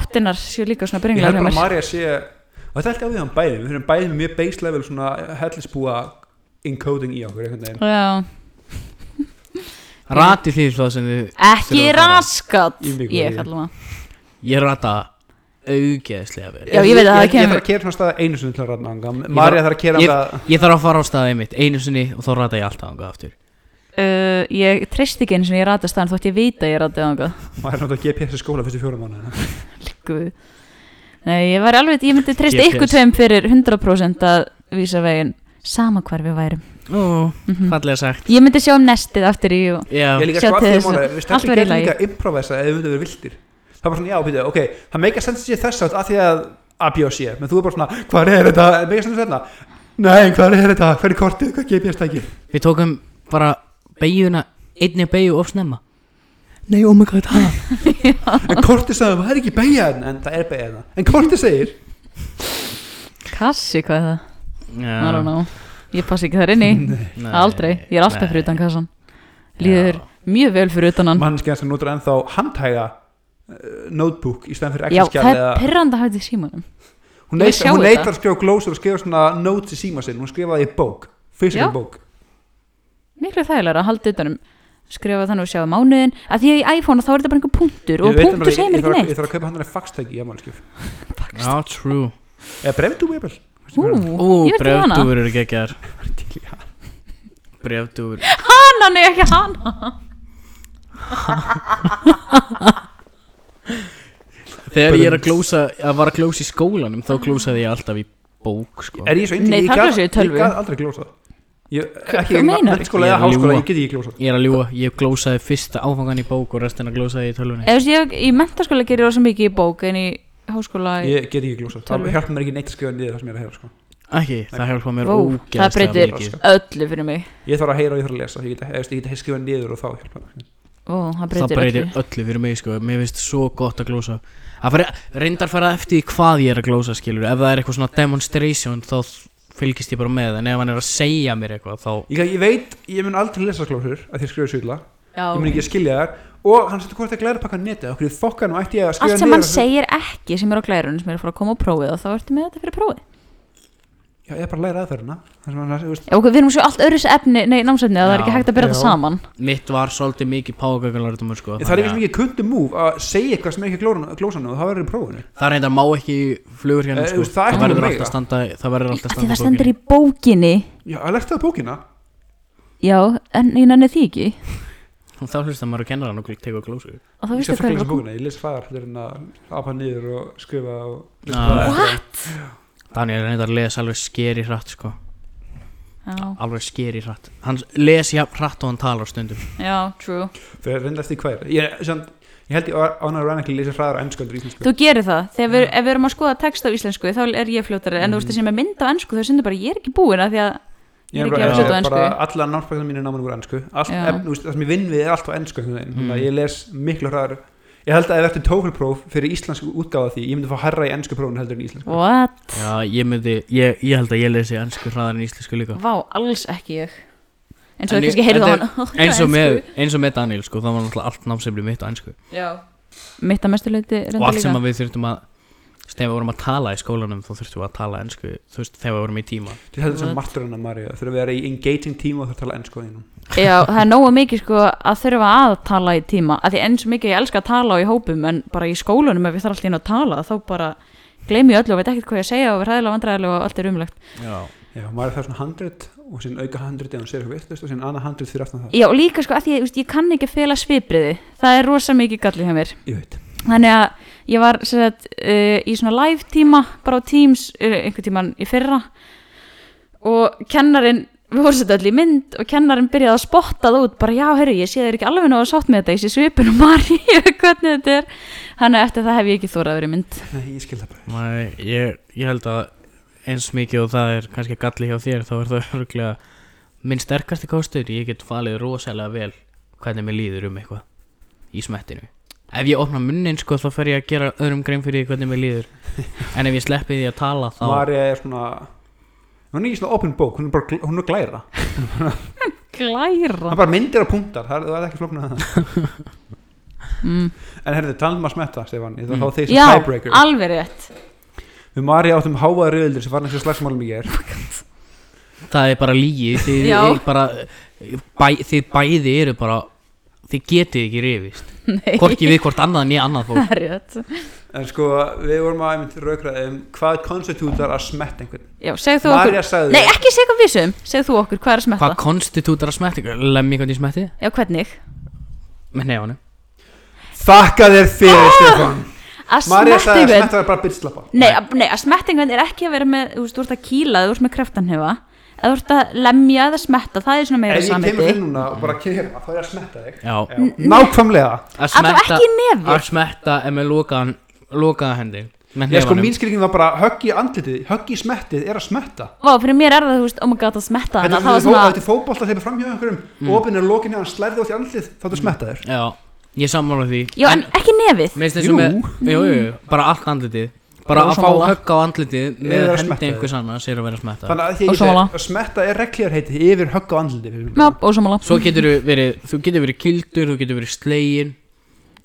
Speaker 3: áttinnar séu líka svona
Speaker 2: ég
Speaker 3: bringlar
Speaker 2: held bara að Marja sé og þetta er alltaf við hann bæði, við höfum bæði með mjög base level svona hellisbúa encoding í okkur, einhvern veginn
Speaker 3: Já.
Speaker 1: rati því þá sem þið
Speaker 3: ekki
Speaker 1: Þurfa að fara.
Speaker 3: raskat
Speaker 2: Ég bygg við
Speaker 3: ég
Speaker 2: því.
Speaker 3: kallum það
Speaker 1: ég rata augeðslega vel
Speaker 3: Já, ég veit að það
Speaker 2: ég, ég
Speaker 3: kemur-
Speaker 2: þarf að kera svona staða einu sinni til að ranna anga Marja þarf að kera
Speaker 1: ég,
Speaker 2: anga
Speaker 1: ég þarf að fara á staðið mitt einu sinni og þá rata ég alltaf ánga aftur
Speaker 3: uh, ég treysti ekki eins og ég ratast þannig þótt ég veit að ég ratið þangað
Speaker 2: Marja er náttúrulega GPS í skóla fyrstu fjóra mánu
Speaker 3: Liggur við. Nei, ég var alveg, ég myndi treysta
Speaker 1: GPS.
Speaker 3: ykkur tveim fyrir 100% að vísa veginn sama hvar við værum
Speaker 1: Ó,
Speaker 3: Mhm.
Speaker 1: fallega sagt
Speaker 3: Ég myndi sjá um nestið aftur í og
Speaker 1: Já,
Speaker 2: Ég líka
Speaker 3: Sjá
Speaker 2: sko
Speaker 3: til
Speaker 2: aftur í
Speaker 3: þess að-
Speaker 2: mánu Við
Speaker 3: allt
Speaker 2: stærlega
Speaker 3: verið í
Speaker 2: getum
Speaker 3: lagi.
Speaker 2: líka að improvisa ef við myndum verið viltir Það er bara svona, já, býtu, ok Það meika sens sér þess að því að A, B og C Menn þú er bara svona, hvað er þetta? Meika sens þetta? Nei, hvað er þetta? Hver er kortið? Hvað GPS tæki?
Speaker 1: við tókum bara beiguna, einni beigju of snemma Nei, oh my god, ha
Speaker 2: En kortið sagði, það er ekki beigjan En það er beigjan En kortið segir
Speaker 3: kassi, hvað er það? I
Speaker 1: Já,
Speaker 3: don't know, ég passi ekki þar inni
Speaker 1: nei,
Speaker 3: Aldrei, ég er alltaf
Speaker 1: nei.
Speaker 3: fyrir utan kassan Líður
Speaker 1: Já.
Speaker 3: mjög vel fyrir utan hann
Speaker 2: Mannskjæðan sem notur ennþá handhæga uh, notebook í stæðan fyrir
Speaker 3: Já, það
Speaker 2: Excel-skjal
Speaker 3: er
Speaker 2: eða
Speaker 3: pyrranda að hafa þetta í símanum
Speaker 2: hún
Speaker 3: Ég
Speaker 2: neitt,
Speaker 3: sjá
Speaker 2: hún neitt
Speaker 3: þetta.
Speaker 2: að skrifa glósur og skrifa svona notes í síma sinn, hún skrifaði í bók physical
Speaker 3: Já.
Speaker 2: bók,
Speaker 3: Miklu þægilega að halda utanum skrifa þannig og sjá mánuðin að því að í iPhone þá er þetta bara einhver punktur og
Speaker 2: Ég veit um
Speaker 3: punktur
Speaker 2: að-
Speaker 3: segir mér
Speaker 2: ég þarf
Speaker 3: ekki
Speaker 2: að-
Speaker 3: neitt
Speaker 2: ég þarf að kaupa hann að faxtæki í ammálskjöf,
Speaker 1: Já, true
Speaker 2: eða brefdúi eða
Speaker 3: Ú,
Speaker 1: Ó,
Speaker 3: ég veit ekki hana
Speaker 1: brefdúfur eru geggjar Brefdúfur
Speaker 3: Hana, nei ekki hana
Speaker 1: Þegar ég er að glósa, að var að glósa í skólanum þá glósaði ég alltaf í bók sko.
Speaker 2: er ég svo indi,
Speaker 3: Nei,
Speaker 2: ég
Speaker 3: það
Speaker 2: gat-
Speaker 3: glósar í tölvu.
Speaker 2: ég gaf aldrei glósað ég, ekki
Speaker 3: hvað
Speaker 2: í
Speaker 3: meinar?
Speaker 2: mennskóla
Speaker 1: Ég er
Speaker 2: eða
Speaker 1: að
Speaker 2: háskóla,
Speaker 1: ljúga.
Speaker 2: ég get ekki glósað
Speaker 1: Ég er að ljúa, ég glósaði fyrsta áfangan í bók og restina glósaði ég í tölvunni
Speaker 3: Eða þú veist, ég, í mentaskóla gerir rosa mikið í bók en í háskóla
Speaker 2: ég get ekki glósað, það
Speaker 3: Tölvu.
Speaker 2: hjálpa mér ekki neitt að skrifa niður það sem ég er að heyra sko.
Speaker 1: Ekki, það hjálpa mér
Speaker 3: Vó, það
Speaker 1: ógeðslega
Speaker 3: breytir
Speaker 1: mikið
Speaker 3: öllu fyrir mig
Speaker 2: ég þarf að heyra og ég þarf að lesa ég get, ég, ég get skrifa niður og þá hjálpa mér
Speaker 3: Ó, það
Speaker 1: Það
Speaker 3: breytir,
Speaker 1: breytir
Speaker 3: öllu
Speaker 1: öllu fyrir mig sko Mér finnst svo gott að glósa Það fyrir, reyndar fara eftir því hvað ég er að glósa skilur Ef það er eitthvað svona demonstration þá fylgist ég bara með En ef hann er að segja mér eitthvað þá
Speaker 2: ég, ég veit, ég mun aldrei lesa glósur að þið skrifa sýla
Speaker 3: Já,
Speaker 2: ég mun ekki að skilja þær og hann setur hvort að glæra pakka neti okkur í fokkanum ætti ég að skrifa
Speaker 3: Allt sem hann
Speaker 2: það
Speaker 3: segir ekki sem er á glærunum sem er að fara að koma á prófið og þá ertu með þetta fyrir prófið
Speaker 2: já, ég er bara að læra aðferðina það sem hann þú veist,
Speaker 3: Já, ok, við erum svo allt öðru efni, nei, námsefni að það er
Speaker 1: Já,
Speaker 3: ekki hægt að byrja
Speaker 2: já.
Speaker 3: það saman
Speaker 1: Mitt var svolítið mikið págöggalaritumur sko
Speaker 2: það er
Speaker 1: þannig
Speaker 2: ekki
Speaker 1: að-
Speaker 2: mikið kundu múf að segja eitthvað sem er ekki glóran- glósan á og það verður í prófunu
Speaker 1: Það reyndar má ekki flugur hérna
Speaker 2: Eh,
Speaker 1: sko
Speaker 2: það er
Speaker 1: Það
Speaker 2: ekki
Speaker 1: verður alltaf
Speaker 2: með mega.
Speaker 1: að standa Það verður alltaf að
Speaker 3: Af
Speaker 1: standa
Speaker 3: Því
Speaker 1: í
Speaker 3: það stendur
Speaker 1: bókinni.
Speaker 3: í bókinni
Speaker 2: já, að lerta það bókina
Speaker 3: Já, en ég nenni því ekki
Speaker 1: Þá hlusta maður að kenna hann og teka glósu
Speaker 3: Og þá
Speaker 2: ég
Speaker 3: veistu
Speaker 2: sé
Speaker 3: hvað
Speaker 2: frekar
Speaker 3: er
Speaker 2: lesa bókina, ég les fæðar heldur en að apa niður og skrifa og
Speaker 1: Ah.
Speaker 2: What?
Speaker 1: Daniel reyndar les alveg skeri hratt sko
Speaker 3: Já,
Speaker 1: Alveg skeri hratt Hann les jafn hratt og hann talar stundum
Speaker 3: já, true
Speaker 2: fyrir reyndast því hver ég, sem, ég held ég ánægur lesa fræðar ennsköldur í
Speaker 3: Þú gerir það, þegar við, ef við erum að skoða text á íslensku þá er ég fljótari, en
Speaker 1: Mm.
Speaker 3: þú veist þessi með mynd á ennsku þau sendur bara ég er ekki búin að því að ég er ekki að fljóta á ennsku
Speaker 2: alla námsbækna mín er náman úr ennsku allt,
Speaker 3: Já.
Speaker 2: ef, þú veist, það sem ég vinn við er allt á ennsku mm.
Speaker 1: Mm.
Speaker 2: þannig að ég les miklu hraðar ég held að ef eftir tófélpróf fyrir íslensk útgáða því ég myndi fá herra í ennsku prófun heldur en í íslensku
Speaker 3: What?
Speaker 1: Já, ég myndi, ég, ég held að ég lesi ennsku hraðar en íslensku líka
Speaker 3: Vá, alls ekki ég eins
Speaker 1: En ég-
Speaker 3: og þau kannski heyrðu á
Speaker 1: þetta
Speaker 3: hann
Speaker 1: eins og, með, eins og með Daniel sko, það var náttúrulega allt námsefni mitt á ennsku
Speaker 3: mitt að mestu leiti
Speaker 1: og
Speaker 3: reynda
Speaker 1: allt sem
Speaker 3: líka
Speaker 1: að við þurftum að þegar við vorum að tala í skólanum þá þurftum við að tala ennsku þú veist, þegar við vorum í tíma
Speaker 2: til þetta sem
Speaker 3: What?
Speaker 2: marturinn að Marja þurfa að vera í engaging tíma og þurfa að tala ennsku á þínum
Speaker 3: Já, það er nógu mikið sko að þurfa að tala í tíma að því eins og mikið ég elska að tala á í hópum en bara í skólanum ef ég þarf alltaf inn að tala þá bara gleymi ég öllu og veit ekkert hvað ég að segja og verð hræðilega vandræðilega og allt er umlegt
Speaker 1: Já,
Speaker 2: já, maður þarf svona 100 og sín auka 100 ef hún segir eitthvað vitlaust og sín annað 100 fyrir aftan það
Speaker 3: Já, og líka sko að því ég, ég kann ekki að fela svipriði það er rosa mikið galli hjá mér
Speaker 2: ég veit
Speaker 3: þannig að ég var sem sagt, uh, í svona live tíma bara á Teams uh, einhvern tíman í fyrra og kennarin við vorum sett öll í mynd og kennarin byrjaði að spotta það út bara já, herru, ég sé þeir ekki alveg náðu að sátt með þetta ég sé svipin og marri hvernig þetta er þannig að eftir það hef ég ekki þórað að vera í mynd
Speaker 2: nei, ég skil það bara
Speaker 1: Nei, ég, ég held að eins mikið og það er kannski galli hjá þér þá er það örgulega minn sterkasti kostur, ég get falið rosalega vel hvernig mér líður um eitthvað í smettinu ef ég opna munnin sko þá fer ég að gera öðrum grein fyrir því hvernig mér líður en ef ég sleppi því að tala þá
Speaker 2: Marja er svona hún er ekki svona open book, hún er bara gl- hún er glæra
Speaker 3: glæra Sko.
Speaker 2: hann bara myndir og punktar, það er, það er ekki flóknir að það
Speaker 3: mm.
Speaker 2: en herðu, talum að smetta, Stefan ég þarf að fá þig
Speaker 3: já,
Speaker 2: sem tiebreaker
Speaker 3: alveg rétt
Speaker 2: Við Marja áttum hávaða rauðildur sem var næstu slagsmálum í ger
Speaker 1: það er bara lígi þið,
Speaker 3: Já.
Speaker 1: er bara, bæ, þið bæði eru bara þið getið ekki rifist
Speaker 3: Nei,
Speaker 1: hvorki við hvort annað nýja annað fólk
Speaker 3: það er rétt
Speaker 2: En sko, við vorum að einmitt raukra um hvað konstitútar að smetta einhvern
Speaker 3: já, segð þú okkur
Speaker 2: Marja sagði
Speaker 3: Nei, ekki segð hvað við sögum, segð þú okkur hvað er að smetta
Speaker 1: hvað konstitútar að smetti, lemmi hvernig ég smetti
Speaker 3: Já, hvernig?
Speaker 1: með nefnum
Speaker 2: Þakka þér fyrir, Stefán
Speaker 3: að
Speaker 2: Marja
Speaker 3: Ah, smetta
Speaker 2: sagði að
Speaker 3: einhvern
Speaker 2: smetta var bara bitslappa
Speaker 3: Nei, að- nei, að smetta einhvern er ekki að vera með þú veist, þú ert að kýla, þú ert með kraftanhefa eða þú ert að lemja eða smetta það er svona meira
Speaker 2: Ef ég
Speaker 3: samviti
Speaker 2: kemur inn núna og bara kemur hérna, þá er ég að smetta þig
Speaker 1: Já,
Speaker 2: Já. Nákvæmlega
Speaker 1: að
Speaker 3: Alla
Speaker 1: smetta
Speaker 3: ekki í nefið.
Speaker 1: Að smetta er með lokaðan lokaða hendi Með
Speaker 2: Ég sko
Speaker 1: hnefanum
Speaker 2: mín skilningin var bara höggi í andlitið, höggi í smettið er að smetta
Speaker 3: Vá, fyrir mér er það, þú veist, oh my god, að smetta
Speaker 2: Þetta
Speaker 3: þannig
Speaker 2: er
Speaker 3: það var
Speaker 2: svona
Speaker 3: svona,
Speaker 2: Þetta er fótbolta þegar framhjá einhverjum mm. Opin er lokinni að hann slærði út í andlitið Þá þú smetta þér
Speaker 1: Já, ég sammála því
Speaker 3: já, en ekki nefið
Speaker 1: Mér finnst eins og
Speaker 2: Jú.
Speaker 1: með Jú, jú, jú, bara allt andlitið Bara
Speaker 2: Og
Speaker 1: að fá
Speaker 2: sammála.
Speaker 1: högg á andlitið
Speaker 2: Eða
Speaker 1: með
Speaker 2: að smetta
Speaker 1: hendi
Speaker 2: þig.
Speaker 1: einhvers annars er að vera að smetta
Speaker 2: Þannig að því
Speaker 3: Og
Speaker 2: ég segi
Speaker 3: sammála.
Speaker 2: að smetta er regljar heiti yfir högg á andlitið fyrir
Speaker 3: Já,
Speaker 2: mig.
Speaker 3: ósamála
Speaker 1: Svo getur verið, þú getur verið kildur, þú getur verið slegin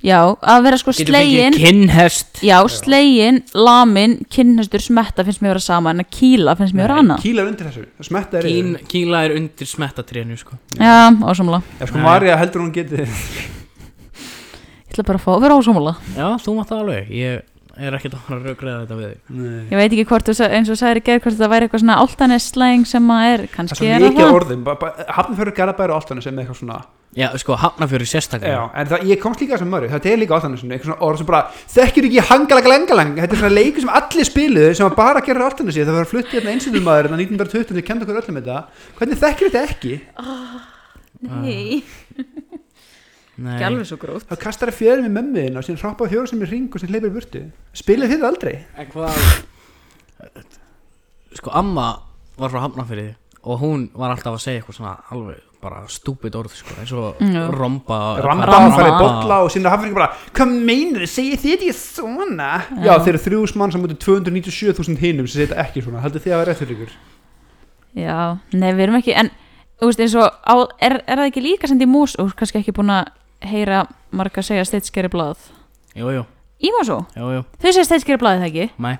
Speaker 3: Já, að vera sko
Speaker 1: Getur fengið
Speaker 3: slegin
Speaker 1: kinnhest
Speaker 3: Já, slegin, lamin, kynnestur, smetta finnst mér vera sama en að kýla finnst mér vera annað
Speaker 2: Kýla er undir þessu, smetta er
Speaker 1: Kín,
Speaker 2: yfir
Speaker 1: Kíla er undir smettatrinu sko
Speaker 3: Já, ósamála
Speaker 2: Ef sko Marja heldur hún geti
Speaker 3: Ég ætla bara að fá að vera ósamála
Speaker 1: Já, þú mátt það alveg Ég er ekkert að fara að röggræða þetta við þig
Speaker 2: Nei.
Speaker 3: Ég veit ekki hvort þú, sa- eins og sagðir í gerð hvort það væri eitthvað svona áltanis slæðing sem að er
Speaker 2: Það er
Speaker 3: kannski
Speaker 2: svo
Speaker 3: er það
Speaker 2: mikið af
Speaker 3: það.
Speaker 2: orðum Hafnfjörður Garabæri og Altanis er með eitthvað svona
Speaker 1: Já, sko, hafnafjöru sérstaklega
Speaker 2: Já, en það, ég komst líka að þessum mörg, þetta er líka ástæðan sinni, eitthvað svona orð sem bara, þekkir ekki hangalagalengalang, þetta er svona leikur sem allir spiluðu sem var bara að gera ástæðan sinni, það var að flutti hérna einsýndumæður en 1920 og kenda okkur öllum þetta, hvernig þekkir þetta ekki?
Speaker 3: Nei,
Speaker 1: Nei.
Speaker 3: ekki alveg svo grótt
Speaker 2: Það kastar að fjöðum í mömmuðin og síðan hroppa á fjóra sem í ring og síðan leipir í burtu. Spilið þið þetta aldrei?
Speaker 1: En hvað Sko amma var frá Hafnafyrði og hún var alltaf að segja eitthvað svona alveg bara stúpid orð sko eins og
Speaker 3: Já.
Speaker 1: romba
Speaker 2: Ramba
Speaker 3: Ramma.
Speaker 2: og farið bolla og síðan hafði ekki bara, hvað meinar þið, segir þið þetta ekki svona? Já, þeir eru þrjús mann sem mútið 297.000 hinum sem segir þetta ekki svona, heldur þið að vera eftir ykkur?
Speaker 3: Já, nei, við erum ekki, en þú veist eins og, á, er, er það ekki líka sendið í mús og kannski ekki búin að heyra marga segja steitskeri blað
Speaker 1: Jú, jú,
Speaker 3: Í Mosó,
Speaker 1: jú, jú,
Speaker 3: þau segja steitskeri blaðið það ekki
Speaker 1: mæ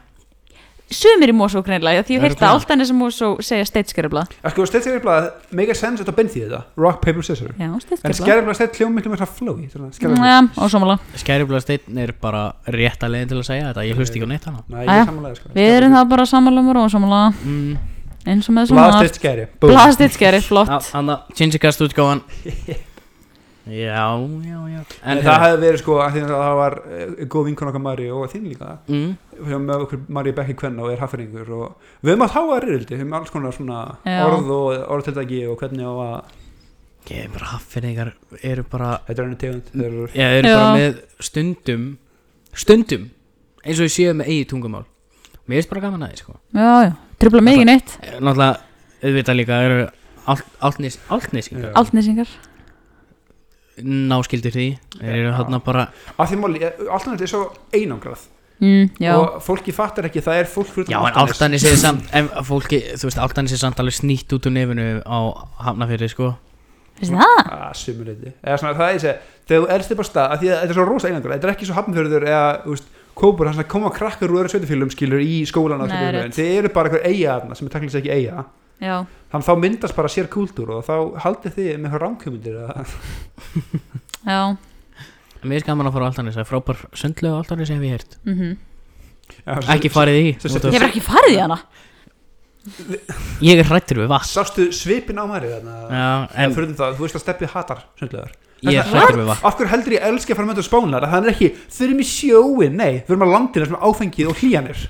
Speaker 3: Sumir í Mosó greinlega, því ég
Speaker 1: Örugglega.
Speaker 3: heyrði það alltaf eins og Mosó segja steitskeri blað
Speaker 2: Sko, stedskeriflað, mega sense þetta benn því þetta, rock, paper, scissors.
Speaker 3: Já,
Speaker 2: En
Speaker 3: steitskeri blað
Speaker 2: skerðarblast þetta hljóð miklu meira flowy
Speaker 3: Já, ósámála,
Speaker 1: Skæribla steinn er bara rétta leiðin til að segja þetta ég hlust ekki á neitt hana
Speaker 2: Nei,
Speaker 3: Jæja.
Speaker 2: ég samanlega sko
Speaker 3: við erum það bara sammála um og ósámála
Speaker 1: mm,
Speaker 3: eins og með svona
Speaker 2: Blastist skæri
Speaker 3: Blað steitskeri, flott
Speaker 1: Hanna, Chinchikast útgáðan Já, já, já
Speaker 2: En það hefði verið sko af því að það var eh, góð vinkon okkar Mari og þín líka
Speaker 1: mm,
Speaker 2: Hjá með okkur Mari Bekki Kvenna og er hafferingur og við höfum átt háa rildi, við höfum alls konar svona
Speaker 3: Já.
Speaker 2: orð og orðtildagi og hvernig á að
Speaker 1: Ég er bara haffyrningar eru bara
Speaker 2: Þetta er henni tegund þeir eru-
Speaker 1: Já, þeir eru
Speaker 3: Já.
Speaker 1: bara með stundum Stundum Eins og ég séu með eigi tungumál Mér finnst bara gaman aðeins sko
Speaker 3: Já, já, trubla mig ekki neitt
Speaker 1: Eh, Náttúrulega, auðvitað líka eru alt, altnis, Altnesingar
Speaker 2: Já.
Speaker 3: Altnesingar
Speaker 1: Náskildir því Þeir eru
Speaker 2: Já.
Speaker 1: þarna bara
Speaker 2: Af því máli, alltaf þetta er svo einangrað
Speaker 3: mm, Já,
Speaker 2: og fólki fattar ekki, það er fólk fyrir
Speaker 1: Já, en Altanis er samt En fólki, þú veist, Altanis er samt alveg snýtt út úr nefinu Á hafnafyrir sko
Speaker 3: finnst það?
Speaker 2: að sumuleiti eða svona það er þess að þegar þú erst upp á stað af því að þetta er svo rosa einangur þetta er ekki svo hafnfjörður eða þú veist, kópur þannig að koma krakkar úr öðru sveitufélum skilur í skólan og
Speaker 3: Nei,
Speaker 2: sveitarfélögin.
Speaker 3: rétt.
Speaker 2: þið eru bara einhver eiga þarna sem er takklis ekki eiga
Speaker 3: Já,
Speaker 2: þannig þá myndast bara sér kúltúr og þá haldið þið með hvað ránkjömyndir að
Speaker 3: já,
Speaker 1: En Mér finnst gaman að fara á Altanis Það er frábær sundlega á Altanis hef ég heyrt
Speaker 3: mhm
Speaker 1: Ekki farið í
Speaker 2: Svo-
Speaker 1: út
Speaker 3: Ég
Speaker 1: af-
Speaker 3: hef ekki farið í hana
Speaker 1: Ég er hrættur við vatn
Speaker 2: sástu svipin á mæri þarna
Speaker 1: Já,
Speaker 2: en
Speaker 1: en
Speaker 2: fyrir það, þú veist að steppið hatar sundlegar
Speaker 1: ég er hrættur við vatn
Speaker 2: af hverju heldur ég elski að fara með þetta spánar það er ekki, þurfum í sjóin, nei þurfum að landina sem er áfengið og hlýjanir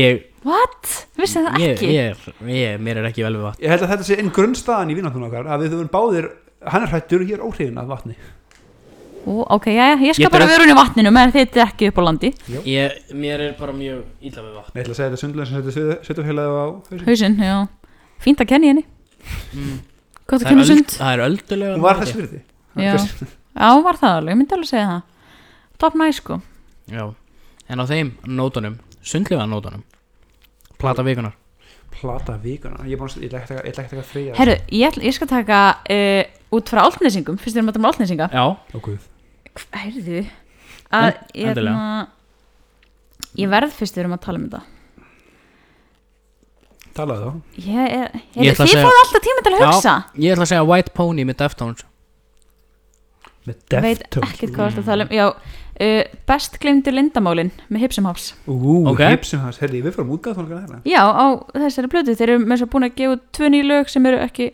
Speaker 1: Ég,
Speaker 3: What? Vissið það
Speaker 1: ég,
Speaker 3: ekki?
Speaker 1: ég, ég, mér er ekki vel við vatn
Speaker 2: Ég held að þetta sé einn grunnstaðan í vináttunum okkar að við höfum báðir, hann er hrættur og ég er óhrifin að vatni.
Speaker 3: Ó, ok, já, ég skal
Speaker 1: Ég
Speaker 3: bara
Speaker 1: dreg-
Speaker 3: vera hún í vatninu meðan þið er ekki upp á landi
Speaker 1: ég, Mér er bara mjög illa við vatn
Speaker 2: Ég ætla að segja þetta sundlega sem þetta sveitafélagi á hausinn.
Speaker 3: Hausinn, já Fínt að kenni henni
Speaker 1: Mm.
Speaker 3: Gott að
Speaker 1: Það er
Speaker 3: kenni
Speaker 1: öld-
Speaker 3: sund
Speaker 1: Það er öldulega
Speaker 2: Hún var þess virði.
Speaker 3: Já, já var það alveg, ég myndi alveg segja það Top nice, sko
Speaker 1: Já, en á þeim nótunum Sundlega nótunum Plata vikunar
Speaker 2: Plata vikuna, ég er búin að, ég ætla ekki að- ég ætla ekki að taka freyja.
Speaker 3: Herru, ég, ætl- ég skal taka uh, út frá altnesingum Fyrst erum við að tala um altnesinga
Speaker 1: Já,
Speaker 2: Ó guð.
Speaker 3: Herðu að,
Speaker 1: En-
Speaker 3: ég,
Speaker 1: endilega.
Speaker 3: ég verð fyrst við erum að tala um þetta
Speaker 2: Talaðu þá.
Speaker 3: Ég, er,
Speaker 1: Ég
Speaker 3: ég,
Speaker 1: ætla að
Speaker 3: Þið
Speaker 1: segja-
Speaker 3: fáðu alltaf tíma til að
Speaker 1: Já.
Speaker 3: hugsa
Speaker 1: ég ætla að segja White Pony með Deftones
Speaker 2: Með
Speaker 3: veit
Speaker 2: Deftones.
Speaker 3: ekkert hvað þú ert að tala um já, uh, best glemdu lindamálin með Hipsum Hops
Speaker 2: Ú,
Speaker 1: Ok.
Speaker 2: hipsum hans. Herri, við fórum útgáð þólkan hérna.
Speaker 3: já, á þessari plötu, þeir eru með svo búin að gefa út tvö nýju lög sem eru ekki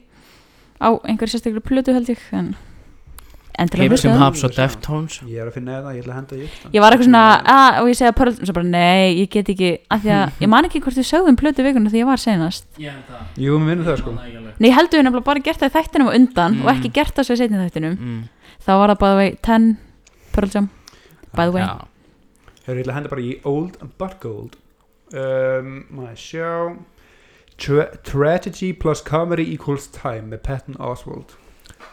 Speaker 3: á einhverju sérstaklega plötu held ég en endilega
Speaker 1: Hip
Speaker 3: hlusta
Speaker 1: sem
Speaker 3: á það.
Speaker 1: haps og Deftones
Speaker 2: Ég er að finna það, ég ætla að henda því upp sko.
Speaker 3: Ég var eitthvað svona, að, og ég segja Pearl, og svo bara nei, ég get ekki, af því að ég man ekki hvort við sögðum plötu vikuna því ég var senast.
Speaker 2: Jú, við vinnum það sko
Speaker 3: Nei, ég heldur við nefnilega bara gert það í þættinum og undan
Speaker 1: Mm.
Speaker 3: og ekki gert það svo í setjum þættinum.
Speaker 1: Mm.
Speaker 3: Þá var það by the way 10 Pearl Jam, by the way.
Speaker 1: Já.
Speaker 2: Hefur ég ætla að henda bara í Old But Gold um, Maður sjá Tra Tragedy plus comedy equals time með Patton Oswald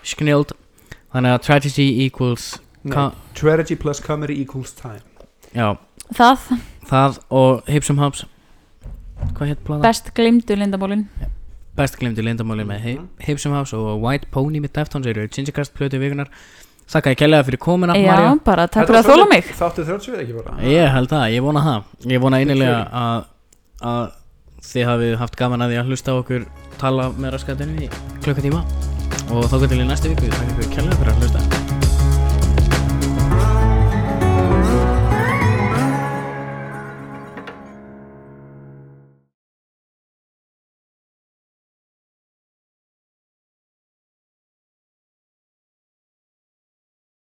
Speaker 1: Sknild Þannig að tragedy equals
Speaker 2: Nei,
Speaker 1: Ka-
Speaker 2: Tragedy plus comedy equals time
Speaker 1: Já,
Speaker 3: Það,
Speaker 1: það og Hip sem haps Hvað hétt plana?
Speaker 3: best glimdu lindamólin.
Speaker 1: best glemdu lindamálin með Hi- Hipsum House og White Pony með Deftones eru Gingercast plötu vikunar þakka ég kærlega fyrir komuna
Speaker 3: Já,
Speaker 1: María.
Speaker 3: bara takk
Speaker 2: Þetta
Speaker 3: fyrir
Speaker 2: var
Speaker 3: að þóla
Speaker 2: svolítið-
Speaker 3: mig.
Speaker 2: Þáttu 30 ekki bara
Speaker 1: ég held það, ég vona það ég vona einilega að, að þið hafið haft gaman að því að hlusta á okkur tala með raskatunni í klukkutíma og þá getur við næstu viku þakka ykkur kærlega fyrir að hlusta